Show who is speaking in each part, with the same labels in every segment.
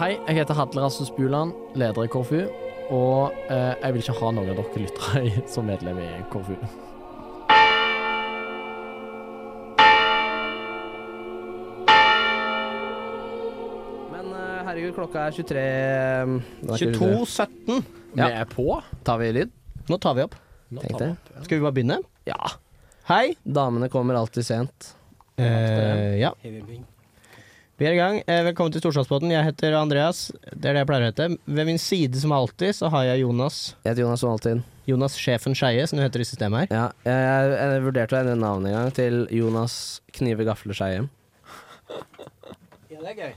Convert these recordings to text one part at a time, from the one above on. Speaker 1: Hei, jeg heter Hadle Rasmus Buland, leder i KrFU, og eh, jeg vil ikke ha noen av dere lyttere i- som medlem i KrFU.
Speaker 2: Men eh, herregud, klokka er 23 eh, den er ikke
Speaker 3: 22.17.
Speaker 1: Vi er på.
Speaker 2: Tar vi lyd?
Speaker 3: Nå tar vi opp.
Speaker 1: Nå
Speaker 2: Tenkte
Speaker 1: tar vi
Speaker 2: jeg.
Speaker 1: opp.
Speaker 3: Skal vi bare begynne?
Speaker 2: Ja.
Speaker 3: Hei.
Speaker 2: Damene kommer alltid sent.
Speaker 3: Eh, ja. Vi er i gang. Eh, velkommen til Storslagsbåten. Jeg heter Andreas. Det er det jeg pleier å hete. Ved min side som alltid så har jeg Jonas.
Speaker 2: Jeg heter Jonas Valtin.
Speaker 3: Jonas Sjefen Skeie, som det heter i systemet her.
Speaker 2: Ja, jeg, jeg, jeg vurderte å endre navnet en gang til Jonas Knive Gafler Skeie.
Speaker 3: Ja, det er gøy.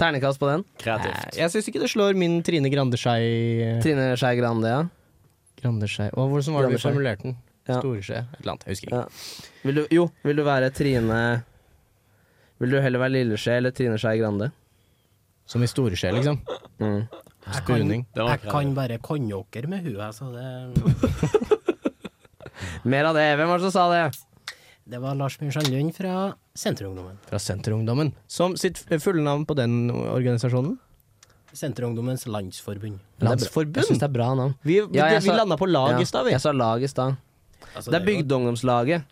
Speaker 2: Ternekast på den.
Speaker 1: Kreativt.
Speaker 3: Eh, Jeg syns ikke det slår min Trine Grande Skei
Speaker 2: Trine Skei Grande, ja.
Speaker 3: Grande Skei Å, Hvordan var det
Speaker 2: Grande
Speaker 3: du
Speaker 2: Skei.
Speaker 3: formulerte den?
Speaker 2: Ja.
Speaker 3: Storeskje? Et eller annet. Jeg husker ikke.
Speaker 2: Ja. Vil du, jo, vil du være Trine Vil du heller være Lilleskje eller Trine Skei Grande?
Speaker 3: Som i Storeskje, liksom.
Speaker 2: Mm.
Speaker 4: Jeg kan,
Speaker 3: Spurning.
Speaker 1: Det var
Speaker 4: jeg kan
Speaker 1: kreativt.
Speaker 4: bare konjakker med huet, så det,
Speaker 2: Mer av det. Hvem var det som sa det?
Speaker 4: det var Lars Bjørnstad Lund fra Senterungdommen.
Speaker 3: Fra Senterungdommen. Som sitt fulle navn på den organisasjonen?
Speaker 4: Senterungdommens landsforbund.
Speaker 3: Landsforbund?
Speaker 2: Jeg syns det er bra navn.
Speaker 3: Vi,
Speaker 2: Ja, jeg
Speaker 3: vi
Speaker 2: sa-
Speaker 3: landa på lag
Speaker 2: Ja,
Speaker 3: i stad, vi.
Speaker 2: Jeg sa lag i stad.
Speaker 4: Altså,
Speaker 2: Det er
Speaker 4: jo-
Speaker 2: Bygdeungdomslaget.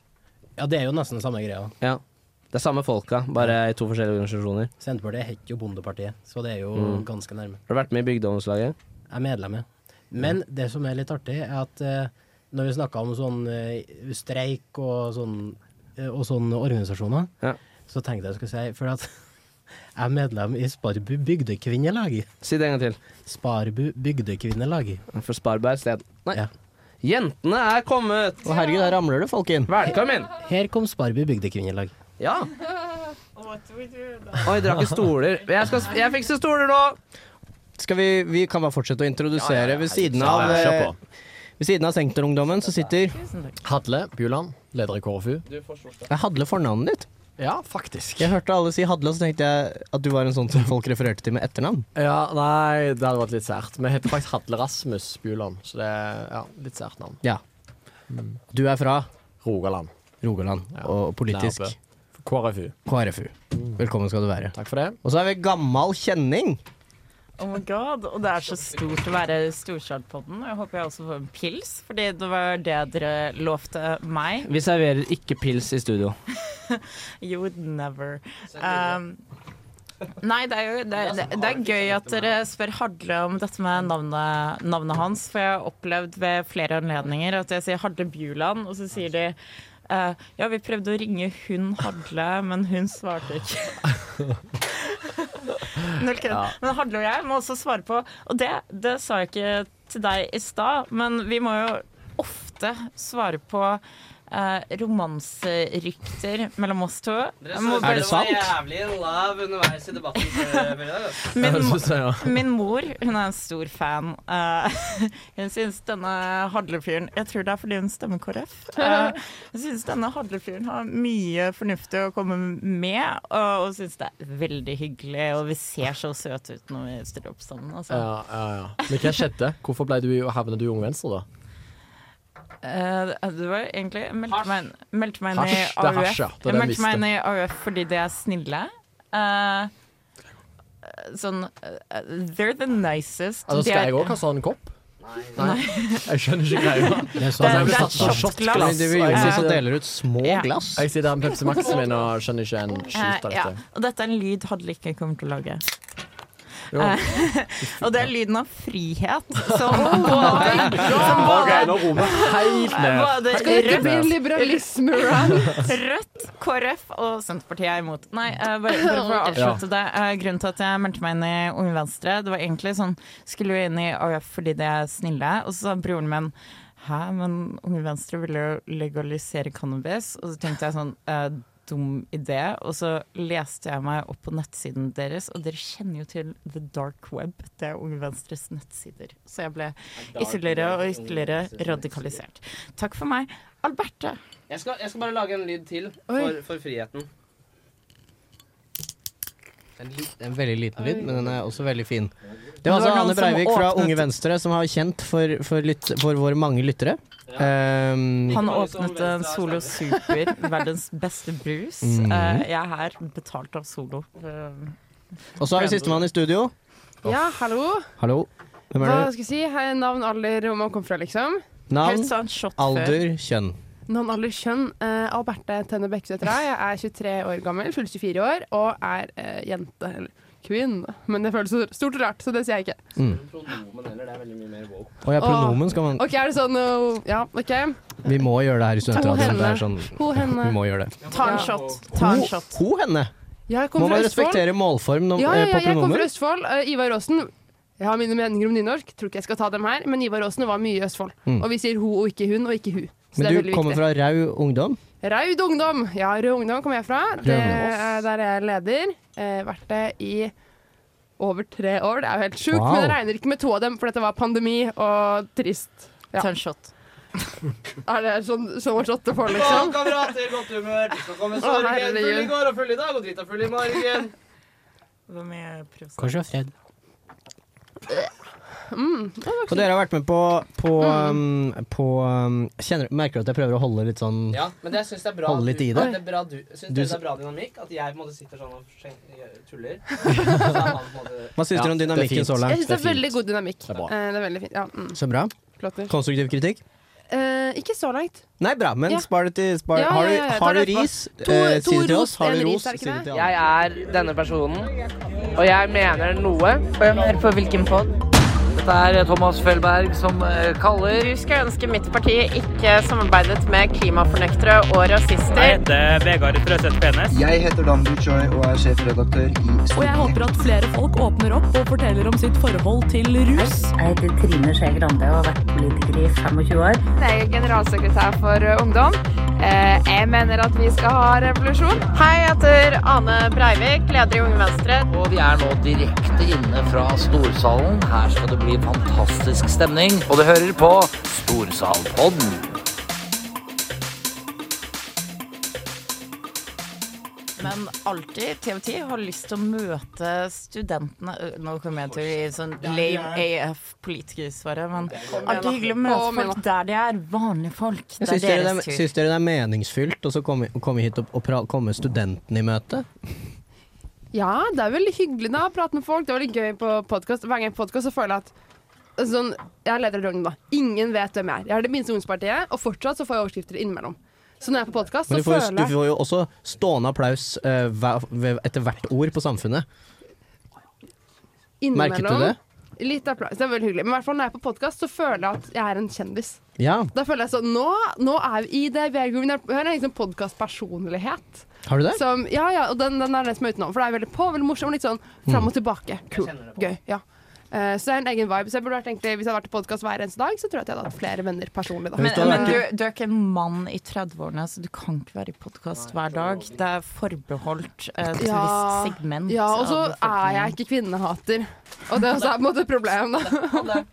Speaker 4: Ja, det er jo nesten samme greia.
Speaker 2: Ja. Det er samme folka, bare i to forskjellige organisasjoner.
Speaker 4: Senterpartiet het jo Bondepartiet, så det er jo ganske nærme.
Speaker 2: Har du vært med i Bygdeungdomslaget?
Speaker 4: Jeg er medlem, ja. Men det som er litt artig, er at eh, når vi snakka om sånn eh, streik og sånn, eh, og sånne organisasjoner,
Speaker 2: Ja.
Speaker 4: så tenkte jeg jeg skulle si For at jeg er medlem i Sparbu bygdekvinnelag.
Speaker 2: Si det en gang til.
Speaker 4: Sparbu bygdekvinnelag.
Speaker 2: For Sparberg sted. Nei.
Speaker 4: Ja.
Speaker 2: Jentene er kommet!
Speaker 3: Å herregud, her ramler det folk inn.
Speaker 2: Velkommen!
Speaker 4: Her kom Sparbu bygdekvinnelag.
Speaker 2: Ja. Oi, dere har ikke stoler. Jeg, skal, jeg fikser stoler nå!
Speaker 3: Skal vi, vi kan bare fortsette å introdusere. Ved, siden
Speaker 1: Ja,
Speaker 3: av,
Speaker 1: ja,
Speaker 3: eh,
Speaker 1: kjør på.
Speaker 3: ved siden av Senterungdommen så sitter
Speaker 1: Hadle Buland, leder i KrFU.
Speaker 3: Jeg Hadle fornavnet ditt.
Speaker 1: Ja, faktisk.
Speaker 3: Jeg hørte alle si Hadle, og så tenkte jeg at du var en sånn som folk refererte til med etternavn.
Speaker 1: Ja, nei, det hadde vært litt sært. Vi heter faktisk Hadle Rasmus Buland, så det er ja, litt sært navn.
Speaker 3: Ja. Du er fra
Speaker 1: Rogaland.
Speaker 3: Rogaland, og politisk
Speaker 1: Der oppe. KrFU.
Speaker 3: KrFU. Velkommen skal du være.
Speaker 1: Takk for det.
Speaker 3: Og så er vi gammal kjenning.
Speaker 5: Oh my god, Og det er så stort å være Storsaltpodden. Jeg håper jeg også får en pils, fordi det var det dere lovte meg.
Speaker 2: Vi serverer ikke pils i studio.
Speaker 5: You would never. Um, nei, det er sånn jo det, det, det er gøy at dere spør Hadle om dette med navnet, navnet hans. For jeg har opplevd ved flere anledninger at jeg sier Hadle Bjuland, og så sier de eh, ja, vi prøvde å ringe hun Hadle, men hun svarte ikke. Null kødd. Men Hadle og jeg må også svare på Og det, det sa jeg ikke til deg i stad, men vi må jo ofte svare på eh, romanserykter mellom oss to. Jeg må
Speaker 3: Er det sant?
Speaker 2: jævlig lav underveis i altså. debatten.
Speaker 5: Min,
Speaker 1: Jeg
Speaker 5: mo-
Speaker 1: synes det, ja.
Speaker 5: min mor hun er en stor fan. Eh, hun syns denne hadlefyren Jeg tror det er fordi hun stemmer KrF. eh, hun syns denne hadlefyren har mye fornuftig å komme med, og, og syns det er veldig hyggelig. Og vi ser så søte ut når vi stiller opp sammen. Altså.
Speaker 1: Ja, ja, ja. Men hva skjedde? Hvorfor ble du, havnet du i Ung Venstre, da?
Speaker 5: Eh, det var egentlig jeg meldte meg, inn- meldte meg inn i
Speaker 1: Hasj, det er
Speaker 5: AUF.
Speaker 1: hasj, ja. Det er
Speaker 5: jeg
Speaker 1: det
Speaker 5: meldte meg
Speaker 1: jeg
Speaker 5: inn i AUF fordi de er snille. Eh, sånn eh, They're the nicest.
Speaker 1: Altså,
Speaker 5: De
Speaker 1: skal
Speaker 5: er-
Speaker 1: jeg òg ha sånn kopp? Nei. Jeg skjønner ikke greia.
Speaker 4: Det er
Speaker 5: Det
Speaker 4: sånn
Speaker 5: er,
Speaker 1: jeg
Speaker 5: det
Speaker 1: ble
Speaker 5: er
Speaker 1: satt på
Speaker 5: et kjapt
Speaker 1: shotglass.
Speaker 5: glass.
Speaker 3: Det vi gjør,
Speaker 5: Eh,
Speaker 3: så deler ut små
Speaker 5: Ja.
Speaker 3: glass.
Speaker 1: sånn Jeg sitter her med Pepsi Max-en min og skjønner ikke en skit av
Speaker 5: eh, ja.
Speaker 1: dette.
Speaker 5: Og dette er en lyd Hadle ikke kommer til å lage.
Speaker 1: Jo.
Speaker 5: Eh, og det er lyden av frihet som både, som både,
Speaker 1: nå roer vi helt
Speaker 5: både Rødt,
Speaker 6: liberalisme run?
Speaker 5: Rødt, KrF og Senterpartiet er imot. Nei, eh, bare, bare for å avslutte det. eh, grunnen til at jeg meldte meg inn i Unge Venstre, det var egentlig sånn Skulle jo inn i AUF fordi de er snille, og så sa broren min Hæ, men Unge Venstre ville jo legalisere cannabis. Og så tenkte jeg sånn eh, dum idé. Og så leste jeg meg opp på nettsiden deres, og dere kjenner jo til The Dark Web. Det er Unge Venstres nettsider. Så jeg ble ytterligere og ytterligere radikalisert. Takk for meg. Alberte.
Speaker 2: Jeg skal, jeg skal bare lage en lyd til
Speaker 6: Oi.
Speaker 2: for, for friheten.
Speaker 3: En, lit- en veldig liten lyd, men den er også veldig fin. Det
Speaker 5: var
Speaker 3: var altså
Speaker 5: noen
Speaker 3: Ane
Speaker 5: som
Speaker 3: Breivik fra
Speaker 5: åpnet-
Speaker 3: Unge Venstre, som har kjent for, for, lytt, for våre mange lyttere. Ehm,
Speaker 5: Han
Speaker 2: mange som vet
Speaker 5: åpnet en
Speaker 2: det er
Speaker 5: Solo Super, verdens beste brus. Eh, jeg er her betalt av Solo. Eh,
Speaker 3: Og så har vi sistemann i studio.
Speaker 6: Ja, hallo.
Speaker 3: Hallo. Hvem
Speaker 6: Hva
Speaker 3: er du?
Speaker 6: skal jeg si? Hei, Navn, alder, hvor man kommer fra, liksom.
Speaker 3: Navn,
Speaker 5: Helt sånn shot før.
Speaker 3: alder, kjønn.
Speaker 6: Navn, alder, kjønn. Eh, Alberte Tønne Bekkes heter jeg. Jeg er 23 år gammel, fyller 24 år, og er eh, jente. Eller kvinne. Men det føles så stort og rart, så det sier jeg ikke.
Speaker 2: Pronomen heller, det er veldig mye mer woke.
Speaker 3: Mm. Å ja, pronomen skal man
Speaker 6: OK, er det sånn eh, Ja, OK.
Speaker 3: Vi må gjøre det her i studentradioen.
Speaker 6: henne.
Speaker 3: Det er sånn
Speaker 6: Ho, henne.
Speaker 3: Vi må gjøre det.
Speaker 5: Ta en
Speaker 6: Ja.
Speaker 5: shot. Ta en
Speaker 3: Ho-
Speaker 5: shot.
Speaker 3: Ho henne!
Speaker 6: Ja, jeg
Speaker 3: Må
Speaker 6: kommer fra
Speaker 3: man
Speaker 6: Østfold.
Speaker 3: respektere målform når,
Speaker 6: Ja, ja,
Speaker 3: eh,
Speaker 6: ja,
Speaker 3: på
Speaker 6: jeg kommer
Speaker 3: pronomen?
Speaker 6: fra Østfold. Eh, Ivar Aasen. Jeg har mine meninger om nynorsk, tror ikke jeg skal ta dem her, men Ivar Aasen var mye i Østfold.
Speaker 3: Mm.
Speaker 6: Og vi sier ho og ikke hun og ikke hu. Så det
Speaker 3: Men
Speaker 6: er
Speaker 3: du
Speaker 6: veldig
Speaker 3: kommer
Speaker 6: viktig.
Speaker 3: fra rau ungdom.
Speaker 6: Raud Ungdom. Ja, Rød Ungdom kommer jeg fra. Det
Speaker 3: Ungdom.
Speaker 6: er der er jeg leder. Eh, vært det i over tre år. Det er jo helt sjukt,
Speaker 3: Wow.
Speaker 6: men jeg regner ikke med to av dem, for dette var pandemi og trist. Ja.
Speaker 5: Ta en shot.
Speaker 6: Er det sånn som å shotte for, liksom?
Speaker 2: kamerater, godt humør! Det skal komme
Speaker 6: sorgen. herregud. Full i
Speaker 2: går og full i dag og drita full i morgen.
Speaker 5: Hvor mye prosent?
Speaker 4: Kanskje jeg er fred.
Speaker 3: Og dere har vært med på, på,
Speaker 6: Mm.
Speaker 3: um, på um, kjenner, Merker du at jeg prøver å holde litt sånn
Speaker 2: Ja, men det syns jeg er bra.
Speaker 3: Holde litt
Speaker 2: at du-
Speaker 3: i det.
Speaker 2: er bra du, syns
Speaker 3: Du
Speaker 2: dere
Speaker 3: s-
Speaker 2: det er bra dynamikk? At jeg på en måte sitter sånn og skjen- gjør- tuller? Så er han på en måte-
Speaker 3: Hva syns
Speaker 1: Ja,
Speaker 3: dere om
Speaker 1: det er
Speaker 3: dynamikken
Speaker 1: fint.
Speaker 3: så
Speaker 6: Jeg
Speaker 3: langt?
Speaker 6: syns det er veldig god dynamikk.
Speaker 1: Det er bra.
Speaker 6: Eh, det er veldig fint. Ja, mm,
Speaker 3: Så bra.
Speaker 6: flott.
Speaker 3: Konstruktiv kritikk?
Speaker 6: Eh, ikke så langt.
Speaker 3: Nei, bra, men
Speaker 6: Ja.
Speaker 3: spar det til spar.
Speaker 6: Ja, ja,
Speaker 3: Har du,
Speaker 6: ja, ja,
Speaker 3: har
Speaker 6: ta
Speaker 3: du
Speaker 6: det etterpå.
Speaker 3: ris,
Speaker 6: To-
Speaker 3: eh, si
Speaker 6: to
Speaker 3: det til oss.
Speaker 6: ros,
Speaker 3: Har
Speaker 6: en
Speaker 3: du
Speaker 6: ris,
Speaker 3: ros,
Speaker 6: er det
Speaker 3: si
Speaker 6: ikke
Speaker 3: det
Speaker 6: det?
Speaker 3: til
Speaker 7: Jeg
Speaker 3: alle.
Speaker 7: er denne personen, og jeg mener noe.
Speaker 5: Hør på hvilken pod?
Speaker 7: Dette er Thomas Felberg som eh, kaller.
Speaker 8: Du skulle ønske mitt parti ikke samarbeidet med klimafornektere og rasister.
Speaker 9: heter Vegard Trøseth Penes.
Speaker 10: Jeg heter Dan Buchoi og er sjefredaktør i Stortinget.
Speaker 11: at flere folk åpner opp og forteller om sitt forhold til rus.
Speaker 9: Jeg heter Trine Skei Grande og har vært politiker i 25 år.
Speaker 8: Jeg er generalsekretær for eh, Ungdom. Eh, Jeg mener at vi skal ha revolusjon. Hei, jeg heter Ane Breivik, leder i Unge Venstre.
Speaker 7: Og vi er nå direkte inne fra Storsalen. Her skal det bli fantastisk stemning. Og du hører på Storsalpodden.
Speaker 5: Men alltid TVT har lyst til å møte studentene Ø, Nå kommer jeg til å gi sånn lame AF-politikersvaret, men alltid hyggelig å møte
Speaker 6: Kom igjen,
Speaker 5: folk der de er. Vanlige folk. Det
Speaker 3: Syns
Speaker 5: er
Speaker 3: dere, det
Speaker 5: deres
Speaker 3: er-
Speaker 5: tur.
Speaker 3: syns dere det er meningsfylt å så komme, komme hit og, og pra, komme studentene i møte?
Speaker 6: Ja, det er veldig hyggelig da, å prate med folk. Det er veldig gøy på podkast. Hver gang jeg er på podkast, så føler jeg at sånn, Jeg er leder av Rogn, da. Ingen vet hvem jeg er. Jeg er det minste ungdomspartiet, og fortsatt så får jeg overskrifter innimellom. Så når jeg er på podkast,
Speaker 3: Men
Speaker 6: så
Speaker 3: du får, jo-
Speaker 6: føler
Speaker 3: du
Speaker 6: jeg
Speaker 3: får jo også stående applaus eh, hver, ved- etter hvert ord på samfunnet.
Speaker 6: Innimellom.
Speaker 3: Merket du det?
Speaker 6: Litt applaus. Det er veldig hyggelig. Men i hvert fall når jeg er på podkast, så føler jeg at jeg er en kjendis.
Speaker 3: Ja.
Speaker 6: Da føler jeg sånn Nå, nå er vi i det VR-grooven. Jeg har en liksom podkastpersonlighet.
Speaker 3: Har du det?
Speaker 6: Som Ja, ja, og den, den er den som er utenom. For det er veldig på, veldig morsom, litt sånn
Speaker 3: Mm.
Speaker 6: fram og tilbake. Cool. Gøy. Ja. Eh, så det er en egen vibe. Så jeg burde vært egentlig, Hvis jeg hadde vært i podkast hver eneste dag, så tror jeg at jeg hadde hatt flere venner personlig. da.
Speaker 3: Men-
Speaker 5: Men, men du, du er ikke en mann i 30-årene, så du kan ikke være i podkast hver dag. Det er forbeholdt eh, et
Speaker 6: Ja.
Speaker 5: visst segment.
Speaker 6: Ja, og så
Speaker 5: av
Speaker 6: er
Speaker 5: befolkningen.
Speaker 6: jeg ikke kvinnehater. Og det er også er på en måte et problem, da.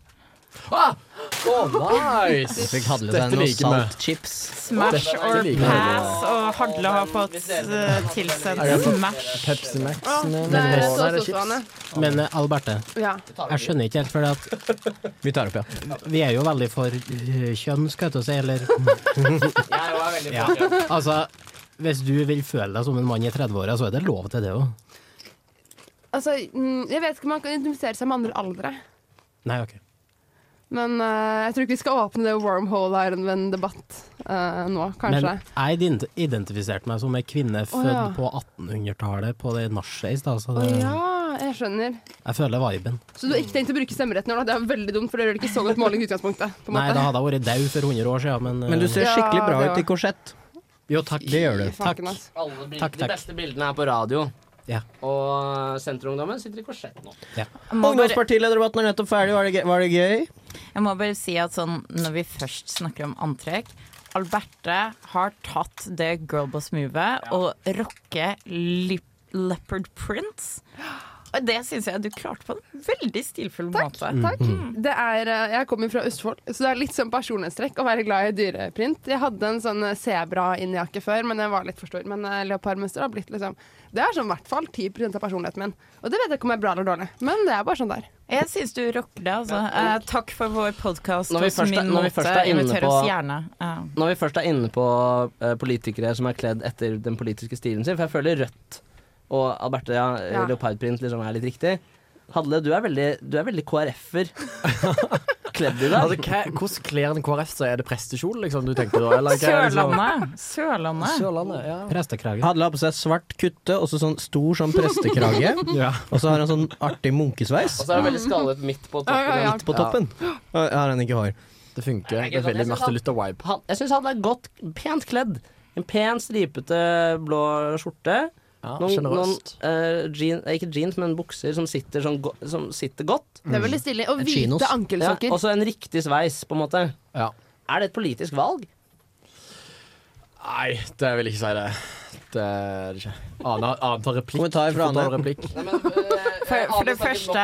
Speaker 1: nice!
Speaker 3: Fikk hadle
Speaker 1: Dette
Speaker 3: seg noen
Speaker 1: liker vi.
Speaker 3: saltchips.
Speaker 5: Smash
Speaker 1: Dette
Speaker 5: or
Speaker 1: liker jeg.
Speaker 5: pass, og Hadle har fått eh, tilsendt
Speaker 1: Jeg har fått-
Speaker 5: Smash.
Speaker 1: Pepsi Max. eh, nei,
Speaker 6: Det
Speaker 1: nei,
Speaker 6: er
Speaker 1: nei,
Speaker 6: så
Speaker 1: det er chips.
Speaker 6: sosuane.
Speaker 4: Men eh, Alberte,
Speaker 6: Ja.
Speaker 4: jeg skjønner ikke helt, for at
Speaker 3: Vi tar opp, ja.
Speaker 4: vi er jo veldig for eh, kjønn, skal jeg til å si, eller
Speaker 2: Jeg er veldig
Speaker 4: ja. Altså, hvis du vil føle deg som en mann i 30-åra, så er det lov til det òg.
Speaker 6: Altså, mm, jeg vet ikke om man kan identifisere seg med andre aldre.
Speaker 4: Nei, OK.
Speaker 6: Men eh, jeg tror ikke vi skal åpne det wormhole her med en debatt eh, nå, kanskje.
Speaker 4: Men jeg ident- identifiserte meg som ei kvinne født
Speaker 6: ja.
Speaker 4: på 1800-tallet, på det nachet i stad, så
Speaker 6: Å
Speaker 4: det,
Speaker 6: ja, jeg skjønner.
Speaker 4: jeg føler viben.
Speaker 6: Så du har ikke tenkt å bruke stemmeretten i år, da? Det er veldig dumt, for det gjør det ikke så godt måling i utgangspunktet. På en
Speaker 4: Nei,
Speaker 6: måte.
Speaker 4: da hadde jeg vært dau for 100 år siden, men, eh,
Speaker 3: Men du ser
Speaker 6: Ja,
Speaker 3: skikkelig bra
Speaker 6: det
Speaker 3: ut
Speaker 6: var-
Speaker 3: i korsett.
Speaker 4: Jo, takk.
Speaker 3: Det gjør du.
Speaker 6: Faken, altså. ass.
Speaker 2: Alle bilder,
Speaker 4: Takk,
Speaker 2: De
Speaker 4: takk.
Speaker 2: beste bildene er på radio.
Speaker 4: Ja.
Speaker 2: Og Senterungdommen sitter i korsett nå.
Speaker 5: Må bare-
Speaker 3: Ungdomspartilederdebatten er nettopp ferdig, var det, gøy- var det gøy?
Speaker 5: Jeg må bare si at sånn, når vi først snakker om antrekk Alberte har tatt det girlboss-movet og rocker lip leopard prints. Og det syns jeg du klarte på en veldig stilfull måte.
Speaker 4: Mm,
Speaker 6: Takk. Det er, eh, jeg kommer fra Østfold, så det er litt sånn personlighetstrekk å være glad i dyreprint. Jeg hadde en sånn eh, sebra-innjakke før, men den var litt for stor. Men eh, leopardmønster har blitt liksom Det er sånn i hvert fall 10 av personligheten min. Og det vet jeg ikke om er bra eller dårlig, men det er bare sånn der.
Speaker 5: Jeg syns du rocker det, altså. Eh, takk for vår podkast.
Speaker 2: Når vi først er- når vi først er inne
Speaker 5: Inviter
Speaker 2: på-
Speaker 5: oss gjerne. Eh,
Speaker 2: Når vi først er inne på eh, politikere som er kledd etter den politiske stilen sin, for jeg føler Rødt og Alberte, ja,
Speaker 6: Ja.
Speaker 2: leopardprint liksom er litt riktig. Hadle, du er veldig, du er veldig KrF-er. Kledd i deg.
Speaker 1: Altså, hva, hvordan kler en KrF seg? Er det prestekjole liksom, du tenker da? Eller, hva er det
Speaker 2: liksom-
Speaker 1: som-
Speaker 5: Sørlandet. Sørlandet.
Speaker 1: Sørlandet, ja.
Speaker 4: Prestekrage.
Speaker 3: Hadle har på seg svart kutte og så sånn stor sånn prestekrage.
Speaker 1: Ja.
Speaker 3: Og så har han sånn artig munkesveis.
Speaker 2: Og så er det veldig skallet midt på toppen.
Speaker 3: Ja, Midt på toppen. Og Har han ikke hår.
Speaker 1: Det funker.
Speaker 2: Det er veldig Martin
Speaker 1: Luther-vibe.
Speaker 2: Han, jeg syns han er godt, pent kledd. En pen, stripete blå skjorte.
Speaker 1: Ja,
Speaker 2: noen noen
Speaker 1: generøst.
Speaker 2: eh, jean, eh, ikke jeans, men bukser som sitter, sånn, go som sitter godt.
Speaker 6: Det er veldig stilig. Og
Speaker 3: Et
Speaker 6: hvite
Speaker 3: chinos.
Speaker 6: ankelsokker.
Speaker 2: Ja, og så en riktig sveis, på en måte.
Speaker 1: Ja.
Speaker 2: Er det et politisk valg?
Speaker 1: Nei, det vil jeg ikke si det. Det er det ikke. Anna, Anna tar replikk.
Speaker 3: Kommentar fra
Speaker 1: Få ta
Speaker 3: Anna.
Speaker 1: replikk.
Speaker 2: eh,
Speaker 5: For, for det første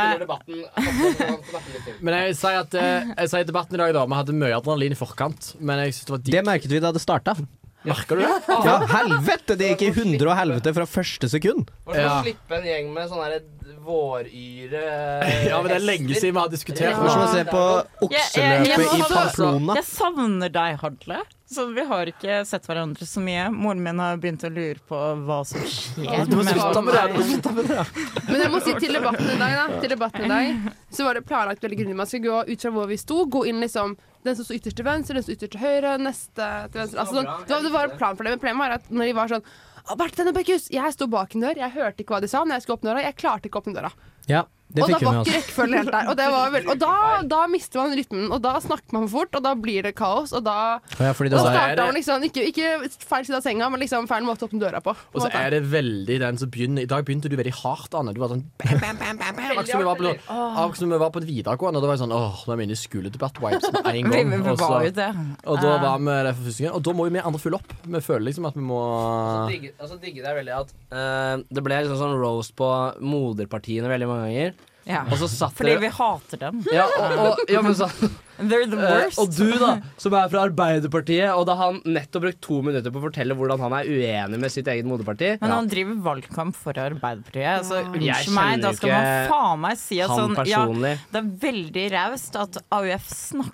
Speaker 1: Men jeg sier at eh, jeg sier debatten i dag, da. Vi hadde mye adrenalin i forkant, men jeg syns det var digg.
Speaker 3: Det merket vi da det starta.
Speaker 1: Merker du det?
Speaker 3: Ja, helvete! Det gikk i hundre og helvete fra første sekund.
Speaker 2: Hvorfor
Speaker 1: Ja.
Speaker 2: slippe en gjeng med sånne våryre
Speaker 1: Ja, men det er lenge siden vi har diskutert
Speaker 3: Det var som å se på
Speaker 5: Jeg- jeg- jeg-
Speaker 3: okseløpet i Pamplona.
Speaker 5: Jeg savner deg, Hadle. Så vi har ikke sett hverandre så mye. Moren min har begynt å lure på hva som skjer.
Speaker 1: Du må
Speaker 5: mellom
Speaker 1: slutte med det! Du
Speaker 5: meg.
Speaker 1: må slutte med det.
Speaker 6: Men jeg må si til debatten i dag, da. Til debatten i dag så var det planlagt veldig grundig. Man skulle gå ut fra hvor vi sto, gå inn liksom den som sto ytterst til venstre, den som sto ytterst til høyre, neste til venstre. Altså, sånn. det, var, det var en plan for det, men problemet var at når de var sånn Albert Dennebekkhus, jeg sto bak en dør, jeg hørte ikke hva de sa, men jeg skulle åpne døra. Jeg klarte ikke å åpne døra.
Speaker 3: Ja, det
Speaker 6: og da
Speaker 3: fikk vi
Speaker 6: var
Speaker 3: med
Speaker 6: ikke
Speaker 3: oss.
Speaker 6: rekkefølgen helt der. Og, det var vel, og da, da mister man rytmen, og da snakker man for fort, og da blir det kaos, og da
Speaker 3: Ja, fordi
Speaker 6: da
Speaker 3: det var,
Speaker 1: er det-
Speaker 6: starta man liksom ikke, ikke feil side av senga, men liksom feil måte å åpne døra på. på
Speaker 1: Og så
Speaker 6: en måte.
Speaker 1: er det veldig den som begynner I dag begynte du veldig hardt, Anne. Du var sånn bam, bam, bam, bam, bam. Akkurat som vi var på, akkurat som vi var på et videregående. Og da var jeg sånn Åh, nå er vi inne i skoledebatt-vibes med en
Speaker 5: Vi,
Speaker 1: gang.
Speaker 5: vi
Speaker 1: Og,
Speaker 5: var jo
Speaker 1: så,
Speaker 5: det.
Speaker 1: og da var vi der for første gang. Og da må jo vi andre følge opp. Vi føler liksom at vi må
Speaker 2: digger, altså digger jeg veldig at eh, det ble liksom sånn roast på moderpartiene veldig mange ganger.
Speaker 5: Ja.
Speaker 2: Og så satt
Speaker 5: Fordi
Speaker 2: dere-
Speaker 5: vi hater dem.
Speaker 2: Ja, og, og, ja, men så,
Speaker 5: They're the
Speaker 2: eh,
Speaker 5: worst.
Speaker 2: og du, da, som er fra Arbeiderpartiet, og da har han nettopp brukt to minutter på å fortelle hvordan han er uenig med sitt eget moderparti.
Speaker 5: Men han driver valgkamp for Arbeiderpartiet. Så
Speaker 2: Jeg
Speaker 5: unnskyld meg, da
Speaker 2: kjenner
Speaker 5: skal
Speaker 2: jo
Speaker 5: man
Speaker 2: ikke
Speaker 5: faen meg si at
Speaker 2: han
Speaker 5: sånn ja,
Speaker 2: personlig.
Speaker 5: Det er veldig raust at AUF snakker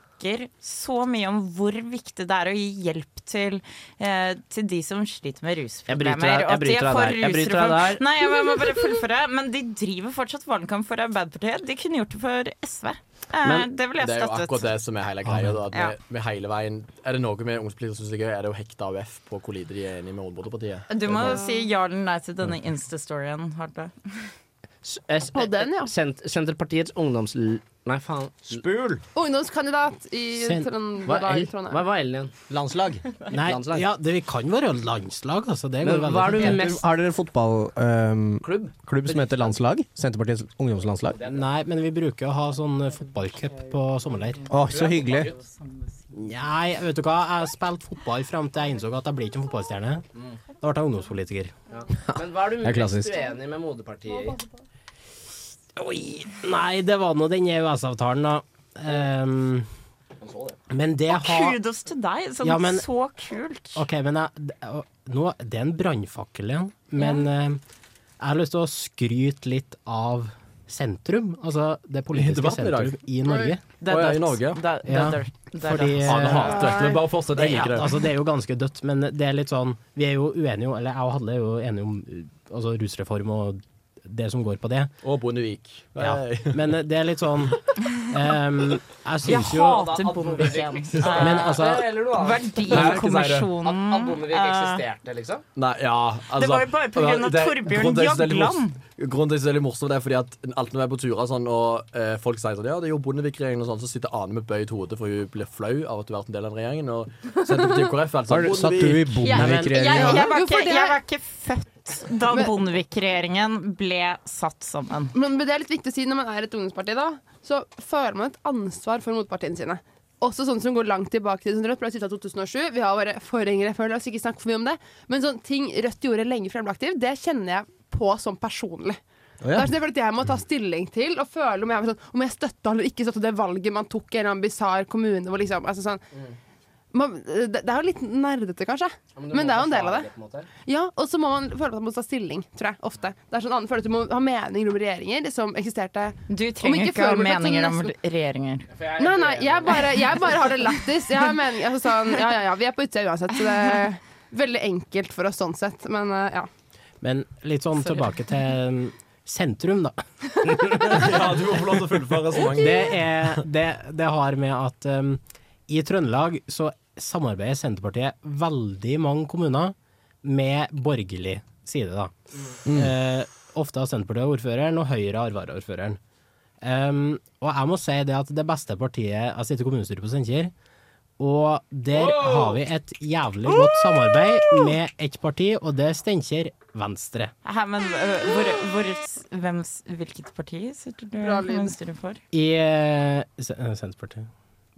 Speaker 5: så mye om hvor viktig det er å gi hjelp til, eh, til de som sliter med
Speaker 2: Jeg bryter
Speaker 5: rusproblemer.
Speaker 2: deg- jeg
Speaker 5: og at de
Speaker 2: bryter
Speaker 5: er
Speaker 2: deg
Speaker 5: for
Speaker 2: der. Jeg bryter deg
Speaker 5: rusreform.
Speaker 2: der.
Speaker 5: Nei, jeg må, jeg må bare fullføre. Men de driver fortsatt valgkamp for Arbeiderpartiet. De kunne gjort det for SV. Eh,
Speaker 2: Men
Speaker 5: det ville
Speaker 1: Det er
Speaker 5: jeg
Speaker 1: jo
Speaker 5: støttet.
Speaker 1: akkurat det som er hele greia. Da, at
Speaker 5: Ja.
Speaker 1: vi, vi hele veien, er det noe med ungdomspolitikere syns er gøy, er det å hekte AUF på hvor lite de er enige med Moderpartiet.
Speaker 5: Du må si ja eller nei til denne Insta-storyen, Hartle.
Speaker 2: S- eh,
Speaker 6: Og den, ja.
Speaker 2: Sent Senterpartiets ungdoms... Nei, faen.
Speaker 3: Spul!
Speaker 6: Ungdomskandidat i
Speaker 4: Sen-
Speaker 2: Hva
Speaker 6: Trøndelag,
Speaker 2: er L-
Speaker 6: Trondheim.
Speaker 2: hva er L igjen?
Speaker 3: Landslag.
Speaker 4: Nei,
Speaker 2: Landslag.
Speaker 4: ja, det, vi kan være landslag, altså. Det
Speaker 2: Men
Speaker 4: går veldig
Speaker 2: hva er du
Speaker 4: fint.
Speaker 2: mest
Speaker 3: Har dere fotballklubb
Speaker 2: klubb?
Speaker 3: klubb som heter Landslag? Senterpartiets ungdomslandslag?
Speaker 4: Nei, men vi bruker å ha sånn eh, fotballcup på sommerleir.
Speaker 3: Å, så hyggelig.
Speaker 4: Nei, vet du hva. Jeg spilte fotball fram til jeg innså at jeg blir ikke en fotballstjerne. Da ble jeg ungdomspolitiker.
Speaker 2: Men hva er du
Speaker 3: Det er klassisk.
Speaker 2: mest uenig med moderpartiet i?
Speaker 4: Oi, nei, det var nå den EØS-avtalen, da. Ehm, men det har
Speaker 5: Kudos til deg! Sånn,
Speaker 4: Ja, men-
Speaker 5: så kult.
Speaker 4: OK, men jeg, d- å, nå, det er en brannfakkel igjen. Men ehm, jeg har lyst til å skryte litt av sentrum. Altså det politiske
Speaker 1: debatten i dag.
Speaker 4: sentrum i Norge.
Speaker 5: Det
Speaker 1: Å, ja, i
Speaker 5: dødt.
Speaker 1: Norge, ja. eh,
Speaker 5: Det, det,
Speaker 4: Ja,
Speaker 5: er dødt. det er
Speaker 4: Fordi
Speaker 5: dødt.
Speaker 1: Anne hater det. Men bare fortsett. Jeg
Speaker 4: Ja,
Speaker 1: liker det.
Speaker 4: altså, det er jo ganske dødt, men det er litt sånn Vi er jo uenige om, eller jeg og Hadle er jo enige om uh, altså, rusreform og det som går på det.
Speaker 1: Og Bondevik. Eh,
Speaker 4: Ja.
Speaker 1: Nei.
Speaker 4: Men uh, det er litt sånn ehm, Jeg
Speaker 5: Jeg
Speaker 4: syns jo
Speaker 5: hater
Speaker 2: liksom.
Speaker 5: Bondevik.
Speaker 4: Men altså
Speaker 2: Eller noe annet? At,
Speaker 5: sånn Verdikommisjonen
Speaker 2: at Bondevik
Speaker 5: eh,
Speaker 2: eksisterte, liksom?
Speaker 1: Nei, ja, altså,
Speaker 5: Det var jo bare på grunn av
Speaker 1: det-
Speaker 5: Torbjørn
Speaker 1: grunnen til at jeg synes det er litt
Speaker 5: Jagland.
Speaker 1: mors- Grunnen til at jeg synes det er litt morsomt, det er fordi at alt når vi er på turer sånn, og eh, folk sier sånn Ja, det gjorde Bondevik-regjeringen, og sånn, så sitter Ane med bøyd hode, for hun blir flau av at hun har vært en del av den regjeringen. Og Senterpartiet og KrF er alt
Speaker 3: Har
Speaker 1: sånn
Speaker 3: du, satt du i
Speaker 5: jeg, jeg,
Speaker 6: Ja,
Speaker 3: Bondevik-regjeringa?
Speaker 5: var
Speaker 6: hvorfor
Speaker 5: ikke,
Speaker 6: det?
Speaker 5: jeg var ikke født da
Speaker 6: Men-
Speaker 5: Bondevik-regjeringen ble satt sammen.
Speaker 6: Men det er litt viktig å si når man er et ungdomsparti, da, så føler man et ansvar for motpartiene sine. Også sånne som går langt tilbake til sånn Rødt ble stiftet i 2007. Vi har våre forgjengere før, la oss ikke snakke for mye om det. Men sånn ting Rødt gjorde lenge før jeg ble aktiv, det kjenner jeg på som personlig. Det er sånn det er fordi jeg må ta stilling til og føle om jeg, sånn, om jeg støtta eller ikke støtta det valget man tok i en eller annen bisarr kommune. Hvor liksom,
Speaker 2: Mm.
Speaker 6: altså sånn, man, det, det er jo litt nerdete, kanskje. Men det er jo en del av det. Ja, og så må man føle at man må ta stilling, tror jeg. Ofte. Det er sånn annen følelse du må ha meninger om regjeringer som eksisterte
Speaker 5: Du
Speaker 6: Om
Speaker 5: trenger
Speaker 6: ikke
Speaker 5: ikke ha
Speaker 6: før, men
Speaker 5: meninger om
Speaker 6: sånn
Speaker 5: regjeringer.
Speaker 6: Nei, nei, jeg bare, jeg bare har det lættis. Jeg har meninger altså sånn Ja, ja, ja, vi er på utsida uansett, så det er veldig enkelt for oss sånn sett. Men eh, ja.
Speaker 4: Men litt sånn
Speaker 5: Sorry.
Speaker 4: tilbake til mm, sentrum, da.
Speaker 1: ja, du må få lov til å fullføre resonnementet.
Speaker 4: Det, er, det, det har med at um, i Trøndelag så samarbeider Senterpartiet veldig mange kommuner med borgerlig side, da. Eh, ofte har Senterpartiet ordføreren, og Høyre har varaordføreren. Um, og jeg må si det at det beste partiet Jeg sitter i kommunestyret på Steinkjer, og der har vi et jævlig godt samarbeid med ett parti, og det er Steinkjer Venstre.
Speaker 5: Hæ, men øh, hvor, hvor, hvem, hvilket parti sitter du
Speaker 6: Bra lyd.
Speaker 5: kommunestyret for?
Speaker 4: I eh, Se- eh, Senterpartiet.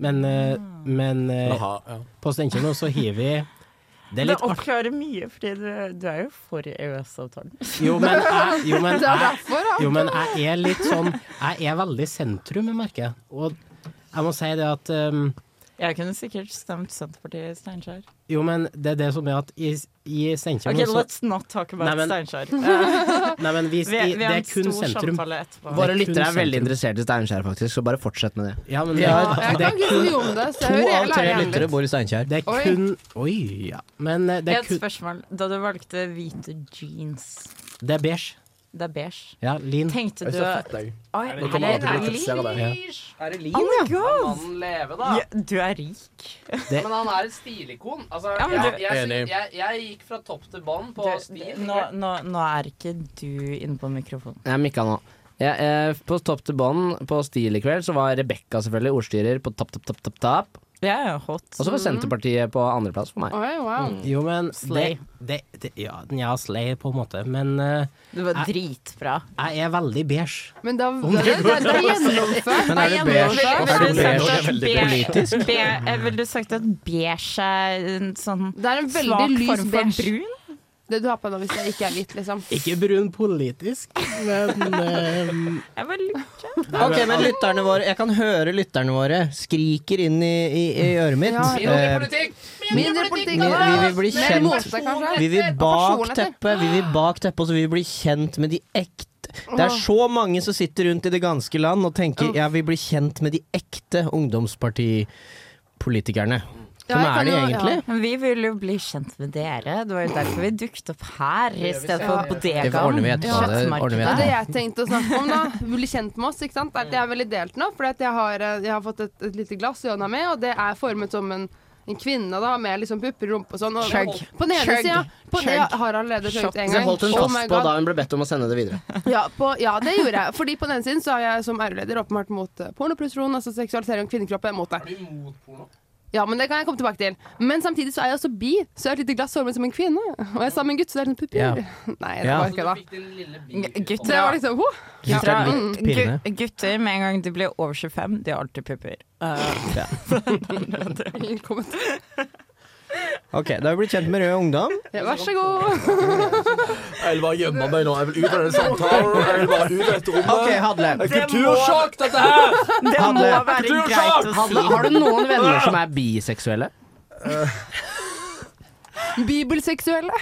Speaker 4: Men, eh, men eh,
Speaker 1: Jaha, ja.
Speaker 4: på Steinkjer nå så har vi Det er
Speaker 5: Det
Speaker 4: litt artig.
Speaker 5: oppklarer mye, fordi du, du er jo for E EØS-avtalen.
Speaker 4: Jo, men jeg, jo, men
Speaker 6: Det er
Speaker 4: jeg,
Speaker 6: derfor, ja.
Speaker 4: jo, men jeg er litt sånn Jeg er veldig sentrum, jeg merker jeg. Og jeg må si det at um,
Speaker 5: Jeg kunne sikkert stemt Senterpartiet i Steinkjer.
Speaker 4: Jo, men det er det som er at i, i Steinkjer
Speaker 5: Ok,
Speaker 4: nå så-
Speaker 5: let's not talk about
Speaker 4: Nei, men-
Speaker 5: Steinkjer. Eh,
Speaker 4: Nei, men vi,
Speaker 5: Vi,
Speaker 4: i,
Speaker 5: vi
Speaker 4: det
Speaker 5: har
Speaker 4: er
Speaker 5: en
Speaker 4: kun
Speaker 5: stor
Speaker 4: sentrum.
Speaker 5: samtale etterpå.
Speaker 2: Våre
Speaker 4: Det er kun
Speaker 2: lyttere er veldig
Speaker 4: sentrum.
Speaker 2: interessert i Steinkjer, faktisk, så bare fortsett med det.
Speaker 4: Ja, men det,
Speaker 3: Ja,
Speaker 4: det,
Speaker 6: Jeg
Speaker 4: det,
Speaker 6: kan ikke så mye om det, så
Speaker 3: To
Speaker 6: jeg hører
Speaker 3: av tre
Speaker 6: jeg lærer igjen
Speaker 3: lyttere
Speaker 6: litt.
Speaker 3: bor i Steinkjer.
Speaker 4: det er
Speaker 6: Oi.
Speaker 4: kun Oi, ja. Men eh, det er
Speaker 5: Et
Speaker 4: kun
Speaker 5: spørsmål. Da du valgte hvite jeans,
Speaker 4: Det er beige.
Speaker 5: det er beige,
Speaker 4: Ja, lean.
Speaker 5: tenkte
Speaker 1: Jeg
Speaker 5: du
Speaker 1: er så fett, jeg.
Speaker 5: Oi,
Speaker 1: Nå kommer alle til å kritisere deg.
Speaker 4: Ja.
Speaker 7: Er det
Speaker 5: Oh
Speaker 7: liv?
Speaker 5: my god!
Speaker 7: Mannen leve, da.
Speaker 5: Ja, du er rik.
Speaker 7: Men han er et stilikon. Altså,
Speaker 5: Ja, men
Speaker 7: jeg,
Speaker 5: du-
Speaker 7: jeg,
Speaker 1: Enig.
Speaker 7: jeg, jeg, gikk fra topp til bånn på
Speaker 5: Du,
Speaker 7: stil.
Speaker 5: nå, nå, nå er ikke du inne på mikrofonen.
Speaker 2: Jeg mikka nå. Jeg, eh, på topp til bånn på stil i kveld så var Rebekka selvfølgelig ordstyrer på topp, topp, topp, topp, topp.
Speaker 5: Jeg er
Speaker 2: Og
Speaker 5: hot.
Speaker 3: Altså,
Speaker 2: så var
Speaker 7: Mm.
Speaker 2: Senterpartiet på andreplass for meg.
Speaker 6: Oi, wow.
Speaker 3: Mm.
Speaker 4: Jo, men
Speaker 5: Slay.
Speaker 4: Det, det, det, ja, ja, slay, på en måte. Men eh,
Speaker 5: Du var dritbra.
Speaker 4: jeg er veldig beige.
Speaker 6: Men da, da, da, da, da gjennomført.
Speaker 3: Men er det beige og
Speaker 5: Ville du
Speaker 3: fugler?
Speaker 5: sagt at
Speaker 1: veldig
Speaker 5: be- be- eh, Ville du sagt at beige er en sånn
Speaker 6: Det er en
Speaker 5: svak
Speaker 6: veldig lys
Speaker 5: form for
Speaker 6: beige.
Speaker 5: brun?
Speaker 6: Det du har på deg hvis jeg ikke er hvit, liksom.
Speaker 4: Ikke brun politisk, men eh,
Speaker 5: Jeg bare lurte.
Speaker 3: Ok, men lytterne våre Jeg kan høre lytterne våre skriker inn i, i, i øret mitt.
Speaker 6: Ja,
Speaker 3: Eh,
Speaker 7: Politikk!
Speaker 6: Mindre politikk.
Speaker 3: vi, vi vil bli
Speaker 6: Mer
Speaker 3: kjent
Speaker 6: måte, kanskje.
Speaker 3: Eh, Vi vil
Speaker 6: Og
Speaker 3: bak
Speaker 6: personligheter.
Speaker 3: teppet, vi vil bak teppet, og så vil vi bli kjent med de ekte Det er sånn så mange som sitter rundt i det ganske land og tenker jeg vil bli kjent med de ekte ungdomspartipolitikerne.
Speaker 6: Ja,
Speaker 3: Som
Speaker 6: jeg
Speaker 3: er
Speaker 6: kan
Speaker 3: de
Speaker 6: jo-
Speaker 3: egentlig?
Speaker 5: Men vi vil jo bli kjent med dere. Det var jo derfor vi dukket opp her i stedet for på
Speaker 3: Det får ordne vi etterpå,
Speaker 5: bodegaen.
Speaker 3: det ordner vi
Speaker 6: Det er det
Speaker 3: etterpå.
Speaker 6: jeg tenkte å snakke om, da. Bli kjent med oss, ikke sant. Det er veldig delt nå, for jeg, har, eh, jeg har fått et, et lite glass i hånda mi, og det er formet som en en kvinne da, med liksom pupper, rumpe og sånn. Og
Speaker 5: Chug.
Speaker 6: På den ene
Speaker 5: Chug.
Speaker 6: sida. På det
Speaker 5: Chug.
Speaker 6: har allerede chugget en
Speaker 2: Så
Speaker 6: gang.
Speaker 2: holdt hun
Speaker 6: Oh
Speaker 2: fast
Speaker 6: my
Speaker 2: på
Speaker 6: God.
Speaker 2: da hun ble bedt om å sende det videre.
Speaker 6: Ja, på, ja, det gjorde jeg. Fordi på den ene siden så er jeg som ære-leder åpenbart mot eh, pornoprostitusjon, altså seksualisering av kvinnekroppen. Mot det. Ja, men det kan jeg komme tilbake til. Men samtidig så er jeg også bi, så jeg har et lite glass formet som en kvinne. Og jeg er sammen med en gutt, så det er en pupper.
Speaker 3: Ja.
Speaker 6: Nei, det
Speaker 3: Ja.
Speaker 6: var ikke det. Så
Speaker 5: Gutter,
Speaker 6: jeg var liksom, huh.
Speaker 3: Gutter er
Speaker 5: gutter,
Speaker 3: litt pirrende.
Speaker 5: gu- gutter, med en gang de blir over 25, de har alltid pupper. Eh,
Speaker 6: Ingen kommentar.
Speaker 3: Ok, da har vi blitt kjent med Rød Ungdom.
Speaker 6: Ja, Vær så god.
Speaker 1: Jeg vil bare gjemme meg nå. Jeg vil ut av denne samtalen. Jeg vil bare ut av dette rommet.
Speaker 3: Ok, Hadle.
Speaker 1: Det er kultursjokk, dette her!
Speaker 5: det må
Speaker 3: Hadle.
Speaker 5: være greit å si.
Speaker 2: Hadle, har du noen venner som er biseksuelle?
Speaker 6: Bibelseksuelle.